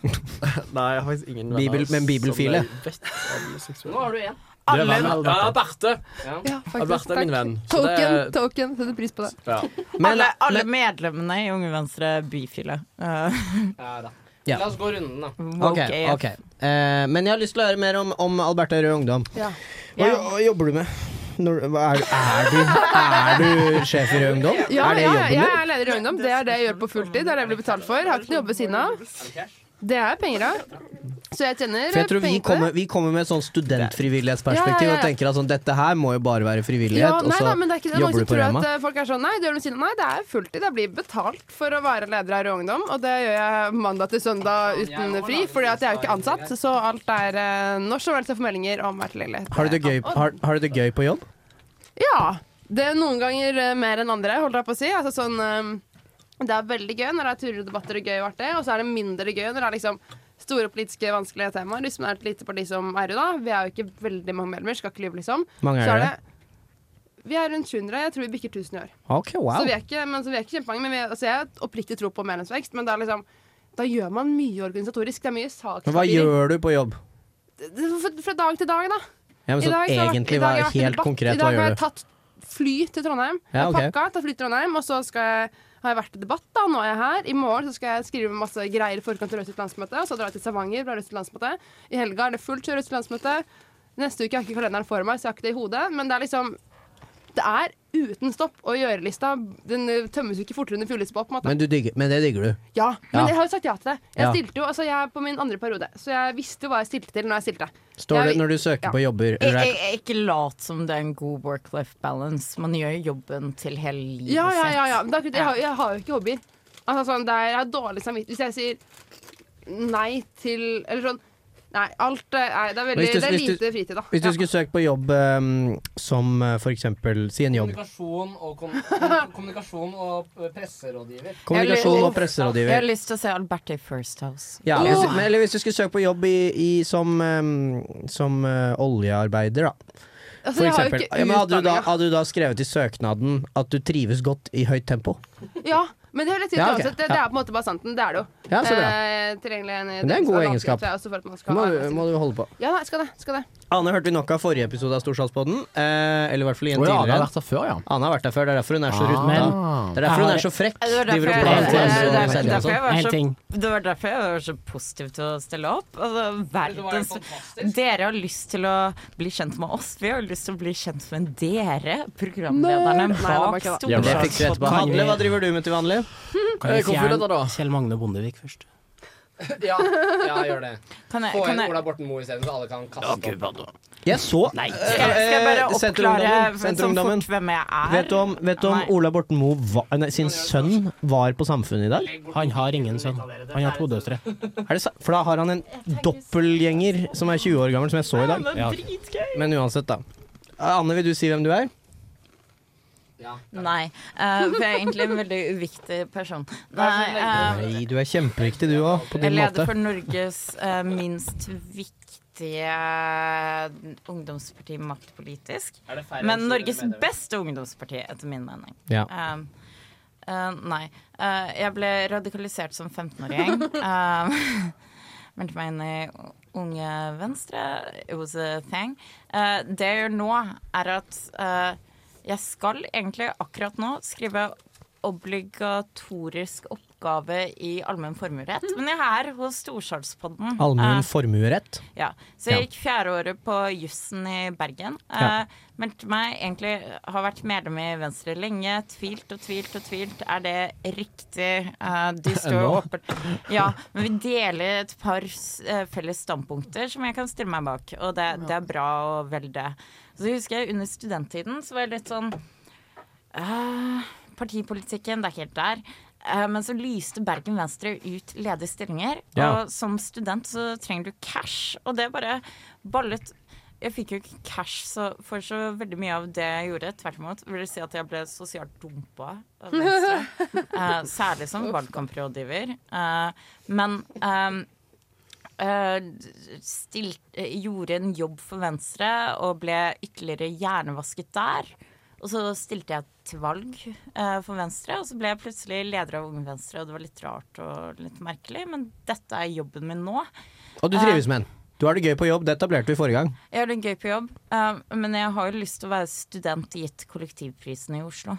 Speaker 1: Nei, jeg har faktisk ingen venner
Speaker 3: Bibel- men bibelfile.
Speaker 1: som jeg vet er biseksuelle.
Speaker 7: Nå har du en.
Speaker 1: Det er venn. Ja, Berte.
Speaker 6: Ja,
Speaker 1: Ja,
Speaker 6: faktisk.
Speaker 1: Berte er min
Speaker 6: Takk.
Speaker 1: venn. Så det
Speaker 6: Token,
Speaker 1: er-
Speaker 6: token. Setter pris på det.
Speaker 1: Ja.
Speaker 3: Men,
Speaker 5: alle, alle medlemmene i Unge Venstre er bifile. Eh,
Speaker 3: Ja.
Speaker 7: La oss gå runden, da.
Speaker 3: ok,
Speaker 5: woke AF.
Speaker 3: ok. Eh, men jeg har lyst til å høre mer om, om Alberta Rød Ungdom.
Speaker 6: Ja.
Speaker 3: Hva, jo- hva jobber du med? Når, hva er, er, du, er du sjef i Rød Ungdom?
Speaker 6: Ja,
Speaker 3: er det
Speaker 6: ja,
Speaker 3: jobben
Speaker 6: jeg
Speaker 3: din?
Speaker 6: er leder i ungdom. Det er det jeg gjør på fulltid. Det er det jeg blir betalt for. Jeg har ikke noe jobb ved siden av. Det er penger av. Så jeg tjener
Speaker 3: For jeg tror vi
Speaker 6: penger på det.
Speaker 3: kommer, vi kommer med et sånn studentfrivillighetsperspektiv
Speaker 6: Ja, ja, ja.
Speaker 3: og tenker at sånn, dette her må jo bare være frivillighet.
Speaker 6: Ja, nei,
Speaker 3: og så
Speaker 6: da, men det er ikke det. Mange
Speaker 3: jobber
Speaker 6: som
Speaker 3: du på
Speaker 6: tror at
Speaker 3: Rema.
Speaker 6: eh, folk er sånn Nei, du gjør noe siden av». Nei, det er fulltid. Jeg blir betalt for å være leder her i Ungdom, og det gjør jeg mandag til søndag uten fri, fordi at jeg er jo ikke ansatt. Så alt er eh, når som helst jeg får meldinger om hver tilgjengelighet.
Speaker 3: Har du, det gøy, har, har du det gøy på jobb?
Speaker 6: Ja. Det er noen ganger eh, mer enn andre, holdt jeg på å si. Altså sånn eh, Det er veldig gøy når det er turer og debatter og gøy og artig, og så er det mindre gøy når det er liksom Store politiske vanskelige temaer. Hvis man er et lite parti som RU, da. Vi er jo ikke veldig mange medlemmer, skal ikke lyve, liksom.
Speaker 3: Mange
Speaker 6: så
Speaker 3: er
Speaker 6: er
Speaker 3: det.
Speaker 6: det Vi er rundt 700. Jeg tror vi bikker 1000 i år.
Speaker 3: Ok, wow.
Speaker 6: Så vi er ikke, men, så vi er ikke kjempemange. Men vi, altså, jeg har oppriktig tro på medlemsvekst, men da, liksom, da gjør man mye organisatorisk. Det er mye
Speaker 3: Men hva
Speaker 6: sakspapirer.
Speaker 3: gjør du på jobb?
Speaker 6: Fra, fra dag til dag, da.
Speaker 3: Ja, men
Speaker 6: I
Speaker 3: sånn
Speaker 6: dag så har- i
Speaker 3: egentlig,
Speaker 6: dag
Speaker 3: hva,
Speaker 6: har jeg vært i
Speaker 3: helt
Speaker 6: debatt.
Speaker 3: konkret,
Speaker 6: I dag
Speaker 3: hva
Speaker 6: har
Speaker 3: gjør
Speaker 6: jeg
Speaker 3: du?
Speaker 6: tatt fly til Trondheim.
Speaker 3: Ja,
Speaker 6: Jeg
Speaker 3: ok.
Speaker 6: pakka, tatt fly til Trondheim, og så skal jeg, har jeg vært i debatt, da. Nå er jeg her. I morgen så skal jeg skrive masse greier i forkant av Rødt sitt landsmøte, og så drar jeg til Stavanger fra Rødt sitt landsmøte. I helga er det fullt Rødt sitt landsmøte. Neste uke har jeg ikke kalenderen for meg, så jeg har ikke det i hodet. Men det er liksom Det er uten stopp, og gjørelista den eh, tømmes jo ikke fortere enn en fugleliste på, på en måte.
Speaker 3: Men, du digger, men det digger du.
Speaker 6: Ja, men
Speaker 3: Ja.
Speaker 6: jeg har jo sagt ja til det. Jeg
Speaker 3: Ja.
Speaker 6: stilte jo, altså jeg er på min andre periode, så jeg visste jo hva jeg stilte til når jeg stilte.
Speaker 3: Står
Speaker 6: Jeg-
Speaker 3: det når du søker
Speaker 6: ja.
Speaker 3: på jobber?
Speaker 5: Jeg,
Speaker 3: Eller
Speaker 5: jeg,
Speaker 3: er,
Speaker 5: jeg ikke lat som det er en god work-life balance. Man gjør jobben til hele livet
Speaker 6: Ja, ja, ja. ja.
Speaker 5: sitt.
Speaker 6: Men Da, kunne- jeg, har, jeg har jo ikke hobbyer. Altså, sånn, det er, jeg har dårlig samvittighet hvis jeg sier nei til Eller sånn Nei, alt eh, er, det, er veldig,
Speaker 3: Hvis du-
Speaker 6: det er
Speaker 3: hvis du-
Speaker 6: lite fritid, da.
Speaker 3: hvis du
Speaker 6: Ja.
Speaker 3: skulle søkt på jobb ehm, som eh, for eksempel Si en jobb.
Speaker 2: Kommunikasjon og, kom kom- kommunikasjon og eh, presserådgiver.
Speaker 3: Kommunikasjon og
Speaker 5: Jeg har
Speaker 3: presserådgiver.
Speaker 5: lyst til å se Alberte i First House.
Speaker 3: Ja, hvis, men, eller hvis du skulle søkt på jobb i, i, som, ehm, som eh, oljearbeider, da.
Speaker 6: Altså,
Speaker 3: For
Speaker 6: jeg har jo
Speaker 3: eksempel.
Speaker 6: ikke
Speaker 3: Ja, men hadde, du da,
Speaker 6: utdanning, da.
Speaker 3: hadde du da skrevet i søknaden at du trives godt i høyt tempo?
Speaker 6: Ja, men det er litt
Speaker 3: Ja, ok.
Speaker 6: uansett. Det, det
Speaker 3: Ja.
Speaker 6: er på en måte bare santen. Det er det jo.
Speaker 3: Ja, så bra.
Speaker 6: Eh, tilgjengelig en,
Speaker 3: Men det er en god egenskap.
Speaker 6: Jeg også for at man skal
Speaker 3: Må,
Speaker 6: ha-
Speaker 3: du- må du holde på.
Speaker 6: Ja, nei, skal det. Skal det.
Speaker 3: Ane hørte vi nok av forrige episode av Storsalspodden. Eh, eller i hvert fall i
Speaker 1: Å
Speaker 3: en
Speaker 1: ja, det har
Speaker 3: tidligere.
Speaker 1: vært der før, ja.
Speaker 3: Ane har vært der før, det er derfor hun er så
Speaker 1: Ah.
Speaker 3: rutta. Det er derfor hun
Speaker 4: Jeg
Speaker 3: er så frekk.
Speaker 5: Det var derfor
Speaker 3: Driver og
Speaker 5: jeg-
Speaker 3: planer til
Speaker 5: det-
Speaker 3: andre
Speaker 5: det-
Speaker 3: og sender og
Speaker 5: derfor
Speaker 3: sånn.
Speaker 5: jeg var
Speaker 4: En
Speaker 5: så-
Speaker 4: ting.
Speaker 5: Det var derfor jeg var så positiv til å stille opp. Altså, verdens Dere har lyst til å bli kjent med oss. Vi har lyst til å bli kjent med dere,
Speaker 6: Nei,
Speaker 5: programlederne
Speaker 6: det var
Speaker 5: bak
Speaker 6: ikke det.
Speaker 3: Men det fikser vi
Speaker 5: Storsalspodden.
Speaker 3: etterpå. Hadle, hva driver du med til vanlig?
Speaker 4: Kan vi
Speaker 1: Eh, hvorfor dette da?
Speaker 4: fjerne Kjell Magne Bondevik først?
Speaker 2: Ja, ja, gjør det.
Speaker 5: Kan jeg,
Speaker 2: Få
Speaker 5: kan
Speaker 2: inn
Speaker 5: jeg,
Speaker 2: Ola Borten Moe isteden, så alle kan kaste opp.
Speaker 3: Jeg så
Speaker 5: skal jeg- skal jeg bare
Speaker 3: Eh,
Speaker 5: oppklare
Speaker 3: Senterungdommen,
Speaker 5: sånn
Speaker 3: Senterungdommen.
Speaker 5: fort hvem jeg er?
Speaker 3: Vet du om, vet du om
Speaker 5: Nei.
Speaker 3: Ola Borten Moe var- nei, sin sønn var på Samfunnet i dag?
Speaker 4: Han har ingen sønn. Han har to døtre.
Speaker 3: Er det, sa- for da har han en doppelgjenger som er 20 år gammel, som jeg så i dag.
Speaker 4: Ja,
Speaker 3: Men uansett, da. Anne, vil du si hvem du er?
Speaker 5: Nei, eh, for jeg er egentlig en veldig uviktig person. Nei,
Speaker 3: Nei, du er kjempeviktig du òg, på
Speaker 5: eh, jeg
Speaker 3: din
Speaker 5: leder
Speaker 3: måte.
Speaker 5: for Norges eh, minst viktige eh, ungdomsparti maktpolitisk.
Speaker 2: Er det færre enn
Speaker 5: Men
Speaker 2: fire
Speaker 5: Norges
Speaker 2: medlemmer?
Speaker 5: beste ungdomsparti, etter min mening.
Speaker 3: Ja.
Speaker 5: Um, uh, nei. Uh, jeg ble radikalisert som 15-åring. Um, Meldte meg inn i Unge Venstre. It was a thing. Uh, det jeg gjør nå, er at uh, jeg skal egentlig akkurat nå skrive obligatorisk oppgave i allmenn formuerett. Men jeg er her hos Storsalspodden.
Speaker 3: Allmuen
Speaker 5: Uh,
Speaker 3: formuerett.
Speaker 5: ja, Så jeg gikk fjerdeåret på jussen i Bergen.
Speaker 3: Ja.
Speaker 5: Eh, meldte meg egentlig Har vært medlem i Venstre lenge. Tvilt og tvilt og tvilt. Er det riktig? Eh, de står jo oppe Ja, men vi deler et par s- eh, felles standpunkter som jeg kan stille meg bak, og det, det er bra og vel det. Så husker jeg under studenttiden så var jeg litt sånn eh, Partipolitikken, det er helt der. Eh, men så lyste Bergen Venstre ut ledige stillinger.
Speaker 3: Ja.
Speaker 5: Og som student så trenger du cash, og det bare ballet jeg fikk jo ikke cash så, for så veldig mye av det jeg gjorde. Tvert imot vil jeg si at jeg ble sosialt dumpa. av Venstre. Eh, særlig som valgkamprådgiver. Eh, men ehm, eh, stilt, eh, gjorde en jobb for Venstre og ble ytterligere hjernevasket der. Og så stilte jeg til valg eh, for Venstre, og så ble jeg plutselig leder av Unge Venstre, og det var litt rart og litt merkelig, men dette er jobben min nå. Eh,
Speaker 3: Og du trives med den. Du har det gøy på jobb, det etablerte vi forrige gang.
Speaker 5: Jeg har det gøy på jobb, eh, men jeg har jo lyst til å være student gitt kollektivprisen i Oslo.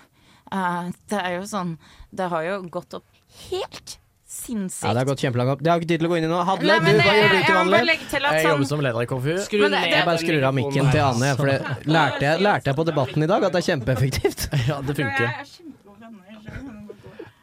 Speaker 5: Eh, det er jo sånn Det har jo gått opp helt sinnssykt.
Speaker 3: Ja, det har gått kjempelangt opp. Det har ikke tid til å gå inn i nå. Hadle,
Speaker 5: Nei, men
Speaker 3: du, hva
Speaker 5: jeg-
Speaker 3: gjør du
Speaker 5: jeg
Speaker 3: til
Speaker 5: må bare
Speaker 3: vanlig?
Speaker 5: legge til at
Speaker 1: Jeg
Speaker 5: sånn-
Speaker 1: jobber som leder i KrFU.
Speaker 2: Skru
Speaker 5: Men det-
Speaker 2: ned
Speaker 5: det-
Speaker 3: Jeg bare skrur av mikken til Ane, for det lærte jeg, lærte jeg på debatten i dag at det er kjempeeffektivt.
Speaker 1: Ja, det funker.
Speaker 5: er kjempegod venner.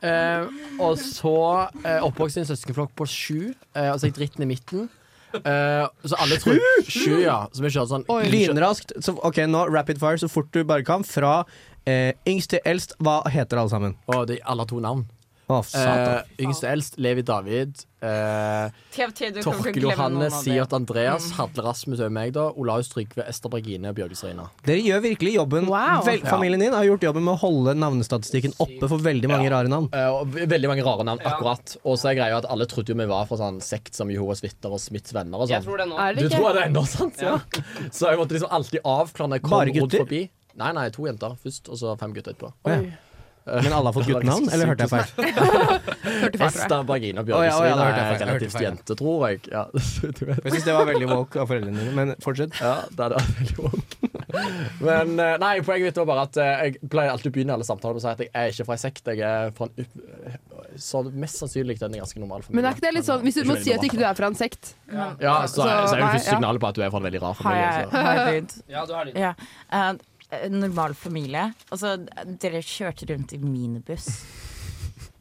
Speaker 1: Eh, og så eh, oppvokst i en søskenflokk på sju. Eh, og så gikk dritten i midten. Eh, så alle tror Sju, ja. Så vi kjørte sånn
Speaker 3: Lynraskt. Så, ok, nå rapid fire så fort du bare kan. Fra eh, yngst til eldst. Hva heter alle sammen?
Speaker 1: Og de alle har to navn.
Speaker 3: Å, satan.
Speaker 1: Eh, yngst og eldst Levi David. Eh,
Speaker 5: TFT, du kommer til å
Speaker 1: Torkel
Speaker 5: glemme noen
Speaker 1: Johanne,
Speaker 5: av
Speaker 1: Sivert
Speaker 5: dem.
Speaker 1: Andreas, Hadle Rasmus over meg, da. Olaus Trygve, Ester Bergine og Bjørgis Reina.
Speaker 3: Dere gjør virkelig jobben.
Speaker 6: Wow.
Speaker 3: Vel, familien din har gjort jobben med å holde navnestatistikken oppe for veldig mange rare navn.
Speaker 1: Eh, og ve- veldig mange rare navn, akkurat. Og så er greia at alle trodde jo vi var fra sånn sekt som Jehovas vitner og Smiths venner og
Speaker 2: Jeg
Speaker 1: sånn.
Speaker 2: tror det nå.
Speaker 6: Er
Speaker 1: Du
Speaker 6: det
Speaker 1: tror
Speaker 6: ikke?
Speaker 1: det ennå, sant? Ja. Så jeg måtte liksom alltid avklare når jeg kom
Speaker 3: Bare
Speaker 1: rundt
Speaker 3: gutter?
Speaker 1: forbi. Nei, nei, to jenter først, og så fem gutter etterpå. Eh,
Speaker 3: Men alle har fått guttenavn, eller hørte jeg feil?
Speaker 1: Esta, Bergine og
Speaker 3: Å, ja, å,
Speaker 1: Bjørgesvin
Speaker 3: ja, da hørte jeg
Speaker 1: er
Speaker 3: feil,
Speaker 1: relativt
Speaker 3: hørte jeg feil.
Speaker 1: jente, tror jeg. Ja, du vet.
Speaker 3: Jeg syns det var veldig woke av foreldrene dine, men fortsett.
Speaker 1: ja det er det veldig vondt. Men eh, nei, poenget mitt var bare at eh, jeg pleier alltid å begynne alle samtaler med å si at jeg er ikke fra ei sekt. Jeg er fra en up- Så mest sannsynlig en ganske normal familie.
Speaker 6: Men er ikke det litt sånn, hvis du må si at ikke du er fra en sekt
Speaker 1: Ja, så, så, er jo
Speaker 6: nei,
Speaker 1: første
Speaker 6: ja.
Speaker 1: signalet på at du er fra en veldig rar
Speaker 5: Har
Speaker 1: familie.
Speaker 5: jeg,
Speaker 1: så-
Speaker 5: har jeg lyd?
Speaker 2: Ja, du har lyd.
Speaker 5: Ja. Eh, en normal familie. Altså, dere kjørte rundt i minibuss.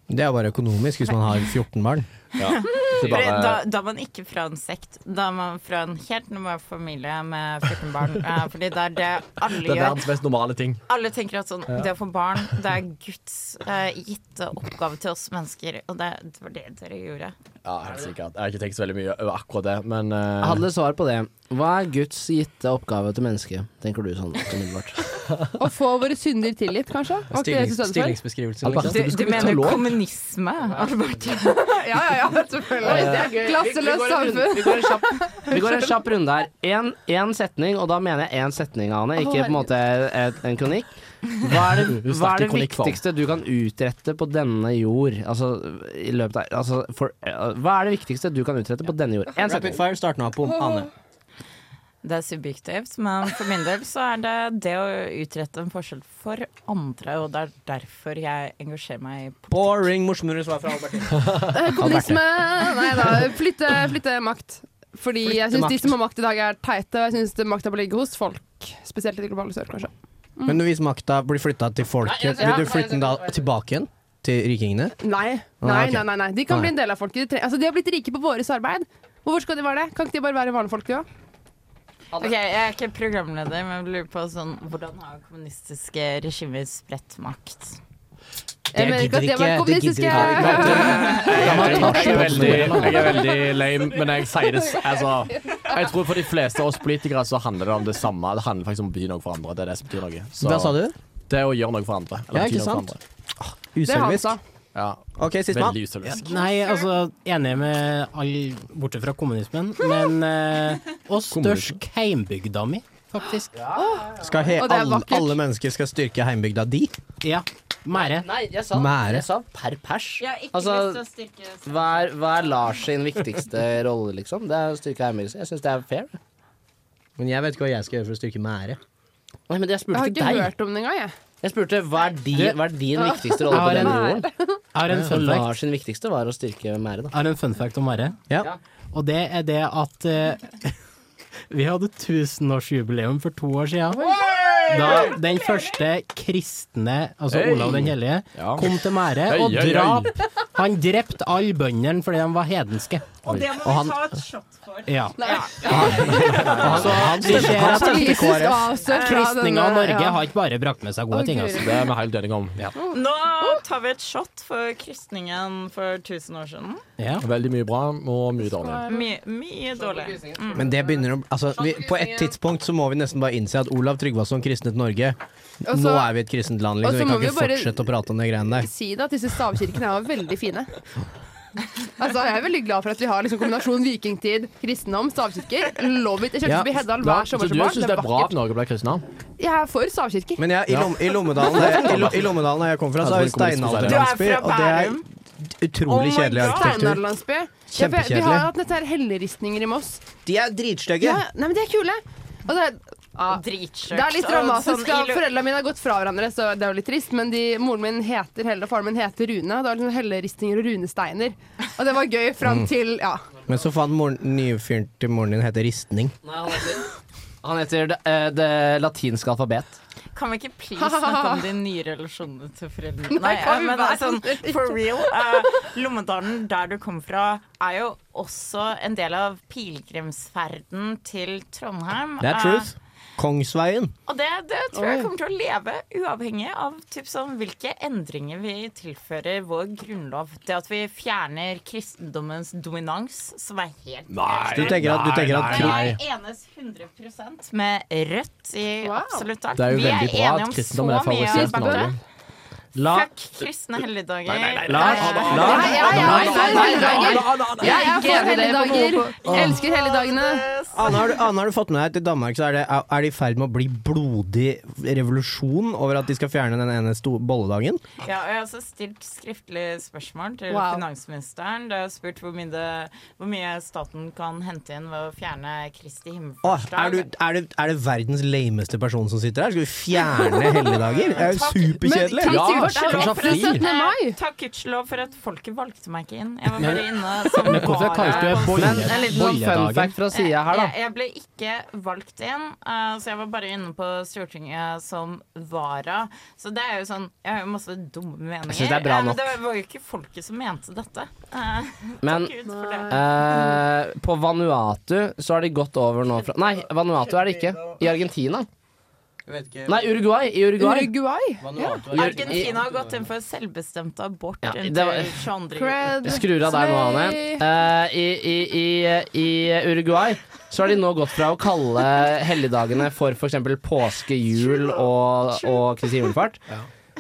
Speaker 3: Det er bare økonomisk hvis man har 14 barn.
Speaker 5: For da, da er man ikke fra en sekt. Da er man fra en helt normal familie med 14 barn. Eh, fordi det er det
Speaker 1: Det er
Speaker 5: alle gjør.
Speaker 1: verdens mest normale ting.
Speaker 5: Alle tenker at sånn,
Speaker 1: Ja.
Speaker 5: det å få barn, det er Guds eh, gitte oppgave til oss mennesker. Og det, det var det dere gjorde.
Speaker 1: Ja, helt sikkert. Jeg har ikke tenkt så veldig mye over akkurat det, men eh,
Speaker 2: Jeg hadde svar på det. Hva er Guds gitte oppgave til mennesket, tenker du sånn umiddelbart?
Speaker 6: Å få våre synder tilgitt, kanskje? Var ikke det det du støtte for?
Speaker 2: Stillingsbeskrivelsen.
Speaker 3: liksom.
Speaker 5: Du, du mener kommunisme, Albert?
Speaker 6: Ja, ja, ja, selvfølgelig. Det er gøy. Klasseløst samfunn.
Speaker 2: Vi går en kjapp, vi går en kjapp runde her. Én setning, og da mener jeg én setning, Ane, ikke på en måte et, en kronikk. Hva er
Speaker 1: Du
Speaker 2: det, hva
Speaker 1: snakker
Speaker 2: er det
Speaker 1: kronikkform.
Speaker 2: viktigste du kan utrette på denne jord? Altså, i løpet av, altså for, eh, Hva er det viktigste du kan utrette på denne jord? Én setning.
Speaker 3: Rapid fire, start nå. Pom, Ane.
Speaker 5: Det er subjektivt, men for min del så er det det å utrette en forskjell for andre, og det er derfor jeg engasjerer meg i
Speaker 3: Boring morsomere svar fra Albertine.
Speaker 6: Eh, Kommunisme Nei da. Flytte, flytte makt. Fordi jeg syns de
Speaker 3: makt.
Speaker 6: som har makt i dag, er teite, og jeg syns makta bør ligge hos folk. Spesielt i det globale sør, kanskje.
Speaker 3: Mm. Men hvis makta blir flytta til folket, vil du flytte den da tilbake igjen? Til rikingene?
Speaker 6: Nei.
Speaker 3: Ah,
Speaker 6: Nei,
Speaker 3: ok.
Speaker 6: nei, nei, nei. De kan
Speaker 3: Nei.
Speaker 6: bli en del av folket. De, tre- altså, de har blitt rike på våres arbeid. Hvorfor skal de være det? Kan ikke de bare være vanlige folk, de òg?
Speaker 5: Ok, Jeg er ikke programleder, men jeg lurer på sånn, hvordan har kommunistiske regimer spredt makt?
Speaker 6: Jeg mener ikke at det var kommunistiske
Speaker 1: Jeg er veldig, jeg er veldig lame, men jeg sier det s- altså, Jeg tror for de fleste av oss politikere så handler det om det samme. Det handler faktisk om å bety noe for andre. Det er det som betyr noe. Så
Speaker 3: Hva sa du?
Speaker 1: Det er å gjøre noe for andre. eller
Speaker 3: Ja,
Speaker 1: bety noe
Speaker 3: ikke
Speaker 1: for
Speaker 3: sant?
Speaker 1: andre.
Speaker 6: Det er han
Speaker 3: Uselvisk.
Speaker 6: sa.
Speaker 1: Ja,
Speaker 3: OK, sistemann.
Speaker 1: veldig uselvisk.
Speaker 4: Nei, altså, enig med all Bortsett fra kommunismen, men eh, Og størst heimbygda mi, faktisk.
Speaker 3: Skal he
Speaker 6: Og det er
Speaker 3: alle,
Speaker 6: vakkert.
Speaker 3: alle mennesker skal styrke heimbygda di?
Speaker 4: Ja. Mære.
Speaker 2: Nei, jeg sa,
Speaker 3: Mære.
Speaker 2: jeg sa per pers.
Speaker 5: Jeg har ikke
Speaker 2: Altså,
Speaker 5: lyst til å styrke
Speaker 2: hva er, hva er Lars sin viktigste rolle, liksom? Det er å styrke heimbygda. Jeg syns det er fair.
Speaker 3: Men jeg vet ikke hva jeg skal gjøre for å styrke mære.
Speaker 2: Nei, men jeg
Speaker 6: Jeg
Speaker 2: spurte
Speaker 6: har
Speaker 2: ikke
Speaker 6: ikke
Speaker 2: deg.
Speaker 6: hørt om det engang, jeg.
Speaker 2: Jeg spurte hva er din, hva er din viktigste rolle
Speaker 4: Jeg har
Speaker 2: på
Speaker 4: en-
Speaker 2: denne jorden?
Speaker 4: Jeg har en fun fact.
Speaker 2: Lars sin viktigste var å styrke Mære, da.
Speaker 4: Jeg har en fun fact om Mære.
Speaker 3: Ja.
Speaker 4: Og det er det at eh, vi hadde tusenårsjubileum for to år siden. Da den første kristne, altså
Speaker 1: Hey!
Speaker 4: Olav den hellige,
Speaker 1: Ja.
Speaker 4: kom til Mære
Speaker 1: Hei,
Speaker 4: og
Speaker 1: hei, hei.
Speaker 4: drap Han drepte alle bøndene fordi de var hedenske.
Speaker 5: Og det må vi ta et shot for.
Speaker 4: Ja. Altså,
Speaker 3: Han, han stemte, han stemte
Speaker 6: Politisk
Speaker 3: KrF.
Speaker 6: avstøt fra
Speaker 4: Kristninga av
Speaker 6: denne-
Speaker 4: Norge
Speaker 6: ja.
Speaker 4: har ikke bare brakt med seg gode
Speaker 6: Å,
Speaker 4: ting,
Speaker 6: Gud.
Speaker 4: altså.
Speaker 1: Det er vi helt enige om.
Speaker 5: Nå tar vi et shot for kristningen for 1000 år siden.
Speaker 4: Ja.
Speaker 1: Veldig mye bra og mye dårlig.
Speaker 5: Mye, mye Mm. dårlig.
Speaker 3: Men det begynner å altså, vi, På et tidspunkt så må vi nesten bare innse at Olav Tryggvason kristnet Norge.
Speaker 6: Og
Speaker 3: Nå
Speaker 6: så-
Speaker 3: er vi et kristent land,
Speaker 6: Altså, og
Speaker 3: liksom.
Speaker 6: så
Speaker 3: Vi
Speaker 6: må
Speaker 3: kan
Speaker 6: vi
Speaker 3: ikke
Speaker 6: bare-
Speaker 3: fortsette å prate om de greiene der.
Speaker 6: si det at disse stavkirkene er jo veldig fine. Altså, Jeg er veldig glad for at vi har liksom kombinasjon vikingtid, kristendom, stavkirker. Love it. Jeg kjøpte
Speaker 3: Ja.
Speaker 6: forbi Heddal
Speaker 1: Ja,
Speaker 6: hver
Speaker 1: så du
Speaker 6: sommer som barn.
Speaker 1: syns det er bra at Norge ble kristna?
Speaker 6: Jeg er for stavkirker.
Speaker 3: Men jeg, i, lom, i Lommedalen der jeg, i Lo- i Lommedalen der jeg kom fra, så er det steinalderlandsby, og det er utrolig
Speaker 5: Oh my
Speaker 3: kjedelig
Speaker 5: God.
Speaker 3: arkitektur.
Speaker 6: Steinarlandsby. Ja, for jeg- vi har jo hatt dette her helleristninger i Moss.
Speaker 3: De er dritstygge!
Speaker 6: Ja, nei, men de er kule. Og det er,
Speaker 5: Dritskjørt.
Speaker 6: det er litt
Speaker 5: og
Speaker 6: dramatisk.
Speaker 5: sånn
Speaker 6: da.
Speaker 5: i lu-
Speaker 6: Foreldrene mine har gått fra hverandre, så det er jo litt trist. Men de, moren min heter Helle, og faren min heter Rune. Det var liksom helleristninger og runesteiner. Og det var gøy
Speaker 1: Mm.
Speaker 6: fram til ja.
Speaker 3: Men så fant moren, nye fyren til moren din heter Ristning.
Speaker 2: han heter, det, eh, det latinske alfabet.
Speaker 5: Kan vi ikke please snakke om de nye relasjonene til foreldrene? Nei,
Speaker 6: Nei, kan vi
Speaker 5: men
Speaker 6: være
Speaker 5: sånn,
Speaker 6: snill?
Speaker 5: for real. eh, Lommedalen, der du kommer fra, er jo også en del av pilegrimsferden til Trondheim.
Speaker 3: Det er
Speaker 5: Eh,
Speaker 3: truth.
Speaker 6: Ah.
Speaker 3: Kongsveien.
Speaker 5: og det, det tror jeg kommer til å leve, uavhengig av typ sånn, hvilke endringer vi tilfører vår grunnlov. Det at vi fjerner kristendommens dominans, som er helt
Speaker 3: Du tenker at, du tenker at
Speaker 5: Men
Speaker 3: tru-
Speaker 5: jeg enes 100 med Rødt i
Speaker 6: Wow.
Speaker 5: absolutt alt.
Speaker 1: Det er jo
Speaker 5: Vi
Speaker 1: veldig bra at
Speaker 5: enige om
Speaker 1: kristendom
Speaker 5: så
Speaker 1: er
Speaker 5: mye
Speaker 1: favorisert i
Speaker 5: Alberta.
Speaker 1: Norge.
Speaker 4: La
Speaker 5: Fuck kristne helligdager. Nei,
Speaker 4: Lars,
Speaker 5: nei,
Speaker 6: Ja,
Speaker 4: Lars,
Speaker 6: ja, ja, jeg er for
Speaker 5: Ja,
Speaker 6: helligdager. Jeg er for
Speaker 5: det på
Speaker 6: helligdager.
Speaker 3: Åh.
Speaker 6: Jeg elsker helligdagene.
Speaker 3: Anne Ah, har, du, Anne, har du fått med deg at i Danmark så er det er det i ferd med å bli blodig revolusjon over at de skal fjerne den ene sto- bolledagen?
Speaker 5: Ja, og jeg har også stilt skriftlig spørsmål til
Speaker 6: Wow.
Speaker 5: finansministeren. Da jeg har spurt hvor mye, det- hvor mye staten kan hente inn ved å fjerne Kristi
Speaker 3: Åh, er, du,
Speaker 5: himmelfartsdag.
Speaker 3: er, det, er det verdens lameste person som sitter her? Skal vi fjerne helligdager? Det er jo
Speaker 5: Takk.
Speaker 3: superkjedelig! sånn
Speaker 6: Men takk
Speaker 5: Gudskjelov
Speaker 6: Gudskjelov
Speaker 5: for
Speaker 6: for
Speaker 5: at-
Speaker 6: 17. mai.
Speaker 5: Nei, Takk gudskjelov for at folket valgte meg ikke inn. Jeg var bare inne som
Speaker 4: Men hvorfor
Speaker 5: vare-
Speaker 4: kalte du det bolle-
Speaker 2: Men en liten sånn fun
Speaker 4: bolledagen?
Speaker 2: fact fra sida her, da.
Speaker 5: Eh, Jeg, jeg ble ikke valgt inn, eh, så jeg var bare inne på Stortinget som vara. Så det er jo sånn Jeg har jo masse dumme meninger.
Speaker 2: Jeg synes det er bra
Speaker 5: eh,
Speaker 2: nok.
Speaker 5: Men det var jo ikke folket som mente dette. Eh,
Speaker 2: Men
Speaker 5: Gud for det.
Speaker 2: eh, på Vanuatu så har de gått over nå fra Nei, Vanuatu er det ikke. I Argentina. Nei, Uruguay. I Uruguay.
Speaker 6: Uruguay.
Speaker 5: Argentina har gått inn for selvbestemt abort
Speaker 2: Ja, det var-
Speaker 5: inntil 22.
Speaker 6: Cred.
Speaker 2: Skrur av deg nå, Anne. Eh, i, i, i, I eh, Uruguay så har de nå gått fra å kalle helligdagene for f.eks. påske, jul og, og Kristi himmelfart.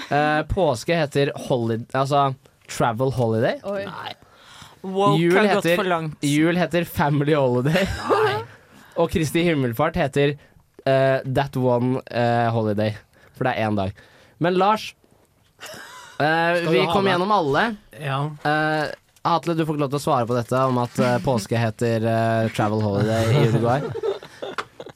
Speaker 2: Eh, påske heter holi- altså travel holiday.
Speaker 6: Oi.
Speaker 5: Woke
Speaker 2: Jul
Speaker 5: har gått
Speaker 2: heter-
Speaker 5: for langt.
Speaker 2: Jul heter family holiday. og Kristi himmelfart heter eh, that one eh, holiday. For det er én dag. Men Lars, eh,
Speaker 4: du
Speaker 2: vi
Speaker 4: ha
Speaker 2: kom
Speaker 4: med-
Speaker 2: gjennom alle.
Speaker 4: Ja.
Speaker 2: Eh, Atle, du får ikke lov til å svare på dette om at eh, påske heter eh, travel holiday i Uruguay.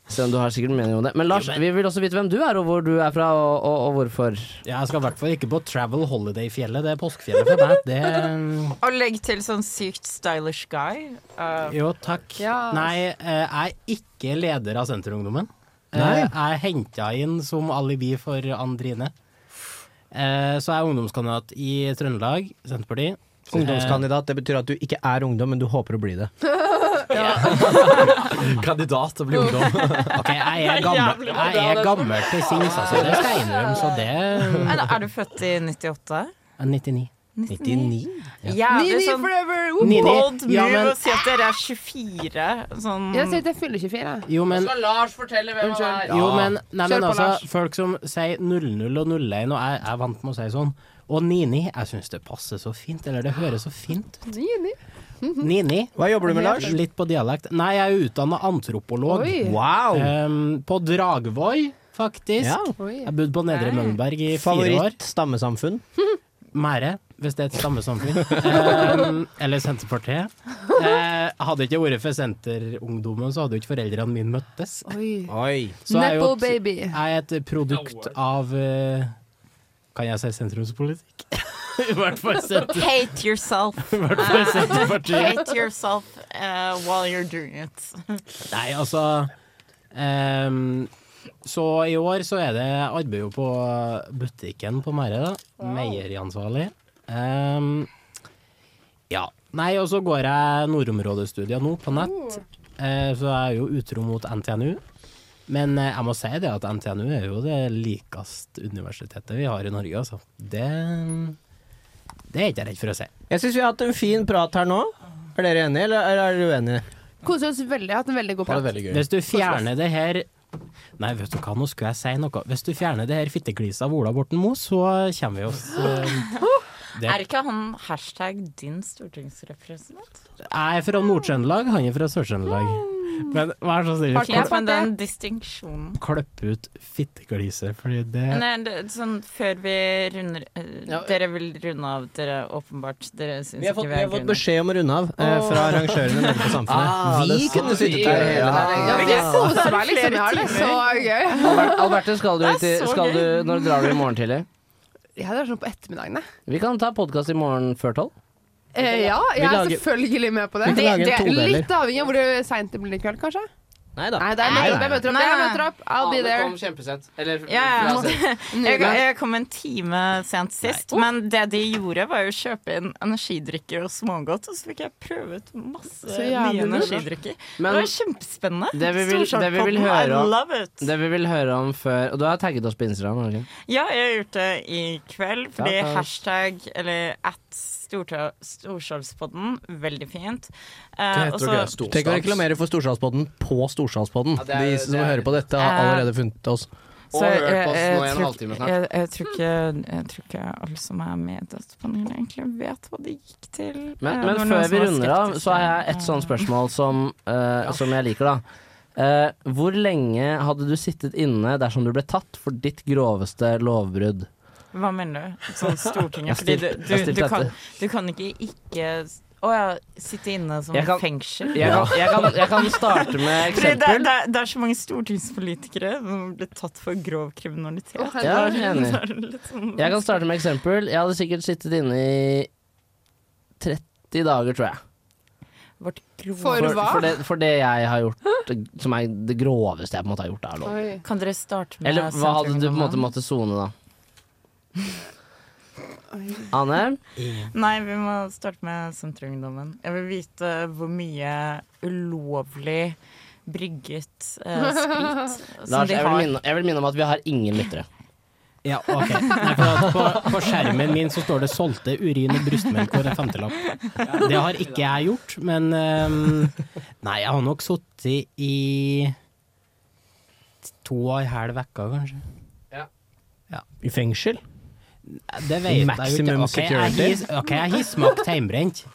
Speaker 2: Selv om du har sikkert en mening om det. Men Lars, vi vil også vite hvem du er, og hvor du er fra, og, og, og hvorfor.
Speaker 4: Ja, Jeg skal i hvert fall ikke på Travel Holiday-fjellet. Det er påskefjellet for meg. Det
Speaker 5: Og legg til sånn sykt stylish guy. Eh,
Speaker 4: Jo, takk.
Speaker 6: Ja.
Speaker 4: Nei, eh, jeg er ikke leder av Senterungdommen. Eh,
Speaker 3: Nei.
Speaker 4: Jeg er henta inn som alibi for Andrine. Eh, Så jeg er ungdomskandidat i Trøndelag, Senterpartiet.
Speaker 3: Ungdomskandidat, det betyr at du ikke er ungdom, men du håper å bli det.
Speaker 1: Kandidat til å bli ungdom.
Speaker 4: Eh, Ok, jeg er gammel, jeg er gammel
Speaker 6: sånn.
Speaker 4: til sinns, altså. Det skal jeg innrømme, så det
Speaker 5: nei, da, Er du født i 98?
Speaker 4: er 99.
Speaker 3: 99?
Speaker 5: Jævlig
Speaker 6: Nini
Speaker 5: sånn
Speaker 6: forever.
Speaker 4: Nini.
Speaker 5: bold move
Speaker 4: Ja, men-
Speaker 5: å si at dere er 24. Sånn
Speaker 6: Mm. Jeg sier at jeg fyller 24, jeg.
Speaker 4: Jo, men
Speaker 2: skal Lars fortelle hvem han er.
Speaker 4: Jo, men, nei,
Speaker 6: Kjør
Speaker 4: men
Speaker 6: på,
Speaker 4: altså,
Speaker 6: Lars.
Speaker 4: folk som sier 00 og 01, og jeg jeg er vant med å si sånn. Og Nini, jeg syns det passer så fint, eller det høres så fint ut.
Speaker 6: Nini.
Speaker 4: Nini,
Speaker 3: Hva jobber du med, Lars?
Speaker 4: litt på dialekt. Nei, jeg er utdanna antropolog.
Speaker 6: Oi.
Speaker 3: Wow!
Speaker 2: Eh,
Speaker 4: Ehm, på Dragvoll, faktisk.
Speaker 3: Ja.
Speaker 6: Oi.
Speaker 4: Jeg bodde på Nedre Mønberg i fire år.
Speaker 3: Favoritt stammesamfunn?
Speaker 4: Mære, hvis det er et stammesamfunn. Ehm, eller Senterpartiet. Eh, hadde det ikke vært for Senterungdommen, så hadde jo ikke foreldrene mine møttes.
Speaker 6: Oi.
Speaker 3: Oi.
Speaker 4: Så jeg er jo
Speaker 6: Nepo
Speaker 4: et-
Speaker 6: baby.
Speaker 4: Jeg er et produkt av eh, Kan jeg si sentrumspolitikk? I hvert fall sent-
Speaker 5: Hate yourself. Um,
Speaker 4: i hvert fall Senterpartiet.
Speaker 5: Hate yourself eh, while you're doing it.
Speaker 4: Nei, altså ehm, Så i år så er det jeg arbeider jo på butikken på Mære, da. Meieriansvarlig. Ehm, ja. Nei, og så går jeg nordområdestudier nå på nett, Eh, så jeg er jo utro mot NTNU. Men eh, jeg må si det at NTNU er jo det likeste universitetet vi har i Norge, altså. Det, det er ikke jeg redd for å si.
Speaker 3: Jeg syns vi har hatt en fin prat her nå. Er dere enige, eller eller er dere uenige?
Speaker 6: Koser oss veldig. Hatt en veldig god prat.
Speaker 1: veldig
Speaker 4: Hvis du fjerner det her Nei, vet du hva, nå skulle jeg si noe. Hvis du fjerner det her fittegliset av Ola Borten Moe, så kommer vi oss eh, Det-
Speaker 5: Er ikke han hashtag din stortingsrepresentant?
Speaker 4: Jeg er fra Nord-Trøndelag, han er fra Sør-Trøndelag. Men vær så snill,
Speaker 5: Ja,
Speaker 4: klipp-
Speaker 5: men den distinksjonen
Speaker 4: klipp ut fittegliset, fordi det
Speaker 5: Nei, det, sånn, før vi runder eh, Dere vil runde av, dere åpenbart. Dere syns
Speaker 3: Vi har
Speaker 5: ikke
Speaker 3: fått, vi
Speaker 5: vi
Speaker 3: har
Speaker 5: har
Speaker 3: fått
Speaker 5: grunn.
Speaker 3: beskjed om å runde av eh, fra arrangørene nede på Samfunnet. vi kunne sittet der hele
Speaker 6: Ja, men jeg koser meg liksom. Jeg har det så gøy.
Speaker 2: Albert, Alberte, skal du,
Speaker 5: Det er
Speaker 2: til,
Speaker 5: så
Speaker 2: skal du
Speaker 5: gøy.
Speaker 2: Når drar du i morgen tidlig?
Speaker 6: Jeg hadde vært sånn på ettermiddagene.
Speaker 2: Vi kan ta podkast i morgen før tolv.
Speaker 6: Eh, ja, jeg
Speaker 3: Vi
Speaker 6: er
Speaker 3: lager-
Speaker 6: selvfølgelig med på det.
Speaker 3: Vi kan lage en
Speaker 6: Det- det-
Speaker 3: todeler.
Speaker 6: Litt avhengig av hvor seint det blir i kveld, kanskje.
Speaker 3: Nei da.
Speaker 6: Nei, det er møter opp. Jeg møter opp. Jeg
Speaker 5: Nei.
Speaker 6: møter opp. I'll be there.
Speaker 2: kjempesent. Eller
Speaker 5: Ja, ja. Jeg,
Speaker 6: Nydelig.
Speaker 5: jeg kom en time sent sist, men det de gjorde, var jo å kjøpe inn energidrikker og smågodt, og så fikk jeg prøve ut masse
Speaker 6: Så
Speaker 5: nye
Speaker 6: jævlig bra.
Speaker 5: energidrikker.
Speaker 2: Men-
Speaker 5: det var kjempespennende.
Speaker 2: Det vi vil- det vi vil
Speaker 5: Storsalgpodden,
Speaker 2: høre om-
Speaker 5: I love it.
Speaker 2: Det vi vil høre om før Og du har tagget oss på Instagram? har du ikke?
Speaker 5: Ja, jeg har gjort det i kveld, fordi
Speaker 2: Ja, takk.
Speaker 5: hashtag, eller at Storta- Storsalspodden, veldig fint. Eh, og så-
Speaker 3: Tenk å reklamere for Storsalspodden på Storsalspodden.
Speaker 2: Ja, det er-
Speaker 3: De som
Speaker 2: det er-
Speaker 3: hører på dette, har allerede funnet oss.
Speaker 5: eh,
Speaker 12: Og
Speaker 5: Så
Speaker 12: hørt på
Speaker 5: jeg-
Speaker 12: oss
Speaker 5: jeg
Speaker 12: nå i en
Speaker 5: tror-
Speaker 12: halvtime snart.
Speaker 5: Jeg, jeg, tror ikke, jeg tror ikke alle som er med i Dødspanelet, egentlig vet hva det gikk til.
Speaker 2: Men,
Speaker 5: Eh, det var
Speaker 2: men
Speaker 5: noen
Speaker 2: før
Speaker 5: som
Speaker 2: vi
Speaker 5: var
Speaker 2: runder av, så har jeg et sånt spørsmål som, eh, som jeg liker, da. Eh, hvor lenge hadde du sittet inne dersom du ble tatt for ditt groveste lovbrudd?
Speaker 5: skeptisk. Hva mener du? Sånn Stortinget?
Speaker 2: Jeg
Speaker 5: Fordi
Speaker 2: stilte-
Speaker 5: du,
Speaker 2: jeg
Speaker 5: du, du,
Speaker 2: stilte
Speaker 5: kan,
Speaker 2: dette.
Speaker 5: du kan ikke ikke Å ja, sitte inne som
Speaker 2: Jeg kan-
Speaker 5: fengsel?
Speaker 2: jeg kan- jeg kan- jeg kan starte med
Speaker 5: Fordi Det,
Speaker 2: eksempel.
Speaker 5: det, er- det er så mange stortingspolitikere som ble tatt for grov kriminalitet.
Speaker 2: Å, herregud. Ja, jeg er enig.
Speaker 5: Da er det litt sånn-
Speaker 2: Jeg kan starte med eksempel. Jeg hadde sikkert sittet inne i 30 dager, tror jeg. For, for, det, for det jeg har gjort, som er det groveste jeg på en måte har gjort av lov.
Speaker 5: Kan dere starte med
Speaker 2: Eller hva hadde du på en måte måttet sone, da? Anne?
Speaker 5: Nei, vi må starte med Senterungdommen. Jeg vil vite hvor mye ulovlig brygget eh, sprit som
Speaker 2: Lars,
Speaker 5: de
Speaker 2: jeg vil,
Speaker 5: har.
Speaker 2: minne, jeg vil minne om at vi har ingen lyttere.
Speaker 4: Ja, ok. Nei, for at på, på skjermen min så står det 'solgte urin og brystmelk for en femtelapp'. Det har ikke jeg gjort, men ehm, Nei, jeg har nok sittet i to og en halv uke, kanskje. Ja.
Speaker 3: I fengsel?
Speaker 4: Det vet jeg
Speaker 3: Maximum
Speaker 4: jo ikke. Ok, jeg
Speaker 3: security.
Speaker 4: his- Ok, jeg har smakt heimbrent.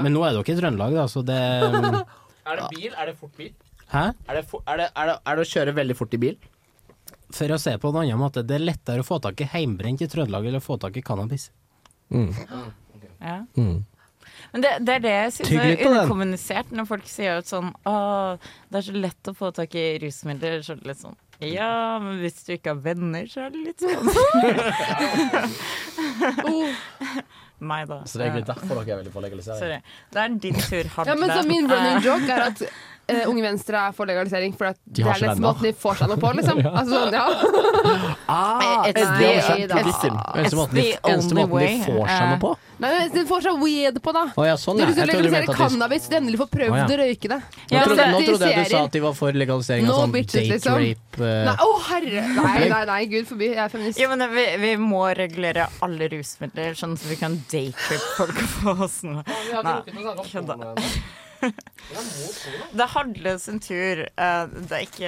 Speaker 4: Men nå er dere i Trøndelag, da, så det ehm,
Speaker 2: Er det bil? Er det fort bil?
Speaker 4: Hæ?
Speaker 2: Er det, for, er, det, er, det, er det å kjøre veldig fort i bil?
Speaker 4: For å se på en annen måte, det er lettere å få tak i heimbrent i Trøndelag eller å få tak i cannabis.
Speaker 5: Ja. Men det, det er det jeg synes
Speaker 4: Tygg litt
Speaker 5: er
Speaker 4: på den.
Speaker 5: underkommunisert, når folk sier at sånn Å, det er så lett å få tak i rusmidler. Så er det litt sånn Ja, men hvis du ikke har venner, så er det litt sånn. Meg, da.
Speaker 1: Så det er egentlig derfor dere er veldig for legalisering.
Speaker 5: Sorry. Det er din tur, Hadle.
Speaker 6: Ja, men så Min running
Speaker 5: Eh,
Speaker 6: joke er at eh, Unge Venstre er for legalisering, for at
Speaker 1: De
Speaker 6: det
Speaker 1: har
Speaker 6: er
Speaker 1: ikke
Speaker 6: nesten
Speaker 1: venner.
Speaker 6: måten de får seg noe på, liksom. Altså, sånn, ja.
Speaker 1: Ah,
Speaker 5: it's Eh, the-
Speaker 6: Nei, da.
Speaker 5: Eneste måten de- It's the eneste only måten de way, får seg noe eh. på?
Speaker 6: Nei, men de får seg weed på, da.
Speaker 3: Å, ja, sånn,
Speaker 6: Når
Speaker 3: ja.
Speaker 6: du skulle
Speaker 3: Jeg trodde du
Speaker 6: legalisere
Speaker 3: mente at de-
Speaker 6: cannabis, så de endelig får prøvd
Speaker 3: Å, ja.
Speaker 6: å røyke det.
Speaker 3: Nå,
Speaker 6: Ja,
Speaker 3: trodde,
Speaker 6: så
Speaker 3: nå
Speaker 6: de
Speaker 3: trodde jeg
Speaker 6: ser
Speaker 3: du sa
Speaker 6: inn-
Speaker 3: at de var for legalisering
Speaker 6: No
Speaker 3: av sånn
Speaker 6: bitches,
Speaker 3: date
Speaker 6: liksom.
Speaker 3: rape. eh.
Speaker 6: Nei, å herre! Nei, nei, nei, gud forby. Jeg er feminist.
Speaker 5: Ja, men vi, vi må regulere alle rusmidler, sånn at vi kan date folk og få oss
Speaker 1: har
Speaker 5: noe.
Speaker 1: ikke rukket å
Speaker 5: Nei,
Speaker 1: snakke om
Speaker 5: kødda.
Speaker 1: porno
Speaker 5: Det er Hadle sin tur. eh, Det er ikke,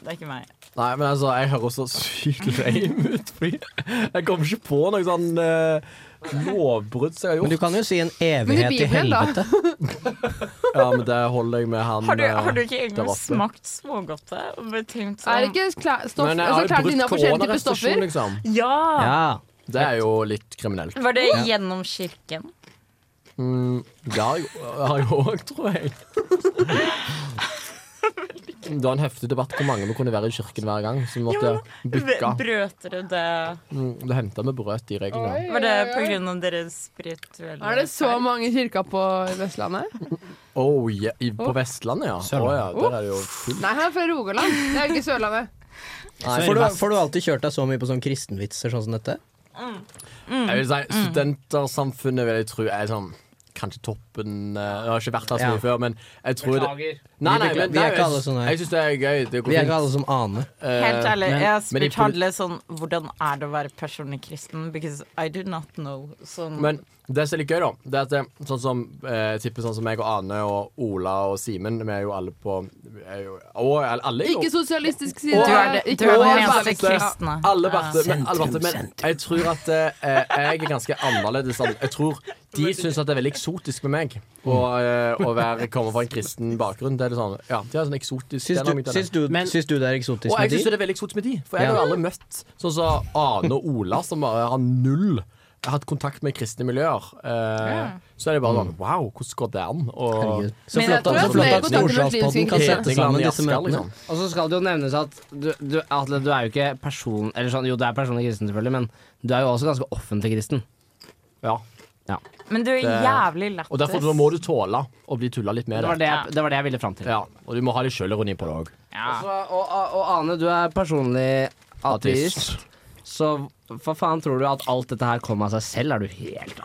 Speaker 5: det er ikke meg.
Speaker 1: Nei, men altså, jeg hører så sykt lame ut, fordi jeg kommer ikke på noe sånn eh, lovbrudd som jeg har gjort.
Speaker 3: Men du kan jo si en
Speaker 1: Men i
Speaker 3: evighet i
Speaker 1: Bibelen, da?
Speaker 3: helvete.
Speaker 1: Ja, men det holder jeg med han
Speaker 5: Har du,
Speaker 1: eh,
Speaker 5: har du ikke
Speaker 1: der
Speaker 5: egentlig
Speaker 1: oppe.
Speaker 5: smakt smågodte? Og bare tenkt sånn
Speaker 6: Er det ikke kla- stoff,
Speaker 1: Men jeg har
Speaker 6: altså,
Speaker 1: jo
Speaker 6: klart
Speaker 1: brutt
Speaker 6: dine forskjellige typer
Speaker 1: koronarestriksjon,
Speaker 6: stoffer?
Speaker 1: liksom.
Speaker 5: Ja!
Speaker 1: Det er jo litt kriminelt.
Speaker 5: Var det
Speaker 1: ja.
Speaker 5: gjennom kirken?
Speaker 1: Mm, det har jeg- har jeg òg, tror jeg. Det var en heftig debatt hvor mange vi kunne være i kirken hver gang, så vi måtte
Speaker 5: Br-
Speaker 1: booke.
Speaker 5: Brøt dere det
Speaker 1: Mm, Det henta vi brøt de reglene.
Speaker 5: Var det pga. deres spirituelle
Speaker 6: Er det så mange kirker på Vestlandet?
Speaker 1: Oh, ja, i, på Vestlandet, ja. Å ja. Der er det jo fullt.
Speaker 6: Nei, han er fra Rogaland. Det er jo ikke Sørlandet.
Speaker 1: Nei.
Speaker 3: Får du, får du alltid kjørt deg så mye på sånne kristenvitser sånn som dette?
Speaker 1: Jeg vil si
Speaker 5: Mm,
Speaker 1: Studentersamfunnet vil jeg tro er sånn Kanskje toppen eh, Jeg har ikke vært her så mye
Speaker 3: Ja.
Speaker 1: før, men jeg tror det,
Speaker 3: Beklager.
Speaker 1: Nei, nei,
Speaker 3: Vi
Speaker 1: men,
Speaker 3: beklager. Vi er
Speaker 1: nei,
Speaker 3: ikke
Speaker 1: jeg-
Speaker 3: alle sånne her.
Speaker 1: Jeg syns det er gøy. Det går
Speaker 3: Vi er
Speaker 1: fint.
Speaker 3: ikke alle som aner.
Speaker 1: Eh,
Speaker 5: Helt ærlig,
Speaker 1: men-
Speaker 5: jeg har
Speaker 1: men i
Speaker 5: spurt
Speaker 1: poli-
Speaker 5: Hadle sånn Hvordan er det å være personlig kristen? Because I do not know. Sånn,
Speaker 1: Men det som er litt gøy, da, det er at det, sånn som eh, jeg tipper sånn som meg og Ane og Ola og Simen Vi er jo alle på er jo, og, alle er jo-
Speaker 6: Ikke sosialistisk
Speaker 1: Og-
Speaker 6: side.
Speaker 1: og-
Speaker 6: ikke
Speaker 1: og-
Speaker 6: noe
Speaker 1: alle
Speaker 6: særlig-
Speaker 1: vært- Alle
Speaker 6: Ja.
Speaker 1: vært, men, alle vært, men jeg tror at eh, jeg er ganske annerledes. enn- Jeg tror de syns at det er veldig eksotisk med meg å, eh, å være, komme fra en kristen bakgrunn. Det er litt sånn, ja, de har sånn eksotisk
Speaker 3: Syns
Speaker 1: dynamikk til
Speaker 3: du,
Speaker 1: det.
Speaker 3: syns du, syns du det er eksotisk
Speaker 1: Og jeg
Speaker 3: med
Speaker 1: syns
Speaker 3: de?
Speaker 1: det er veldig eksotisk med de. For jeg
Speaker 3: Ja.
Speaker 1: har jo aldri møtt sånn som Ane og Ola, som bare har null Jeg har hatt kontakt med kristne miljøer. Eh, Så er det bare sånn Wow, hvordan går det an? Og,
Speaker 3: Herregud. altså.
Speaker 2: Så Men jeg flott tror at- at så flott vi at kontakter Nordsalspodden muslimske kan sette
Speaker 1: Heteland
Speaker 2: sammen
Speaker 1: i
Speaker 2: disse
Speaker 1: Asker,
Speaker 2: møtene. Og så skal det jo nevnes at du, du, Atle, du er jo ikke person Eller sånn, jo du er personlig kristen selvfølgelig, men du er jo også ganske offentlig kristen.
Speaker 1: Ja.
Speaker 5: men du er
Speaker 1: Det-
Speaker 5: jævlig lættis.
Speaker 1: Og derfor må du tåle å bli tulla litt med.
Speaker 2: Det var det jeg-
Speaker 1: jeg ville fram til. Ja, og du må ha litt sjølironi på det òg.
Speaker 2: Altså, og, og, og Ane, du er personlig ateist. Så hva faen tror du at alt dette her kom av seg selv? Er du helt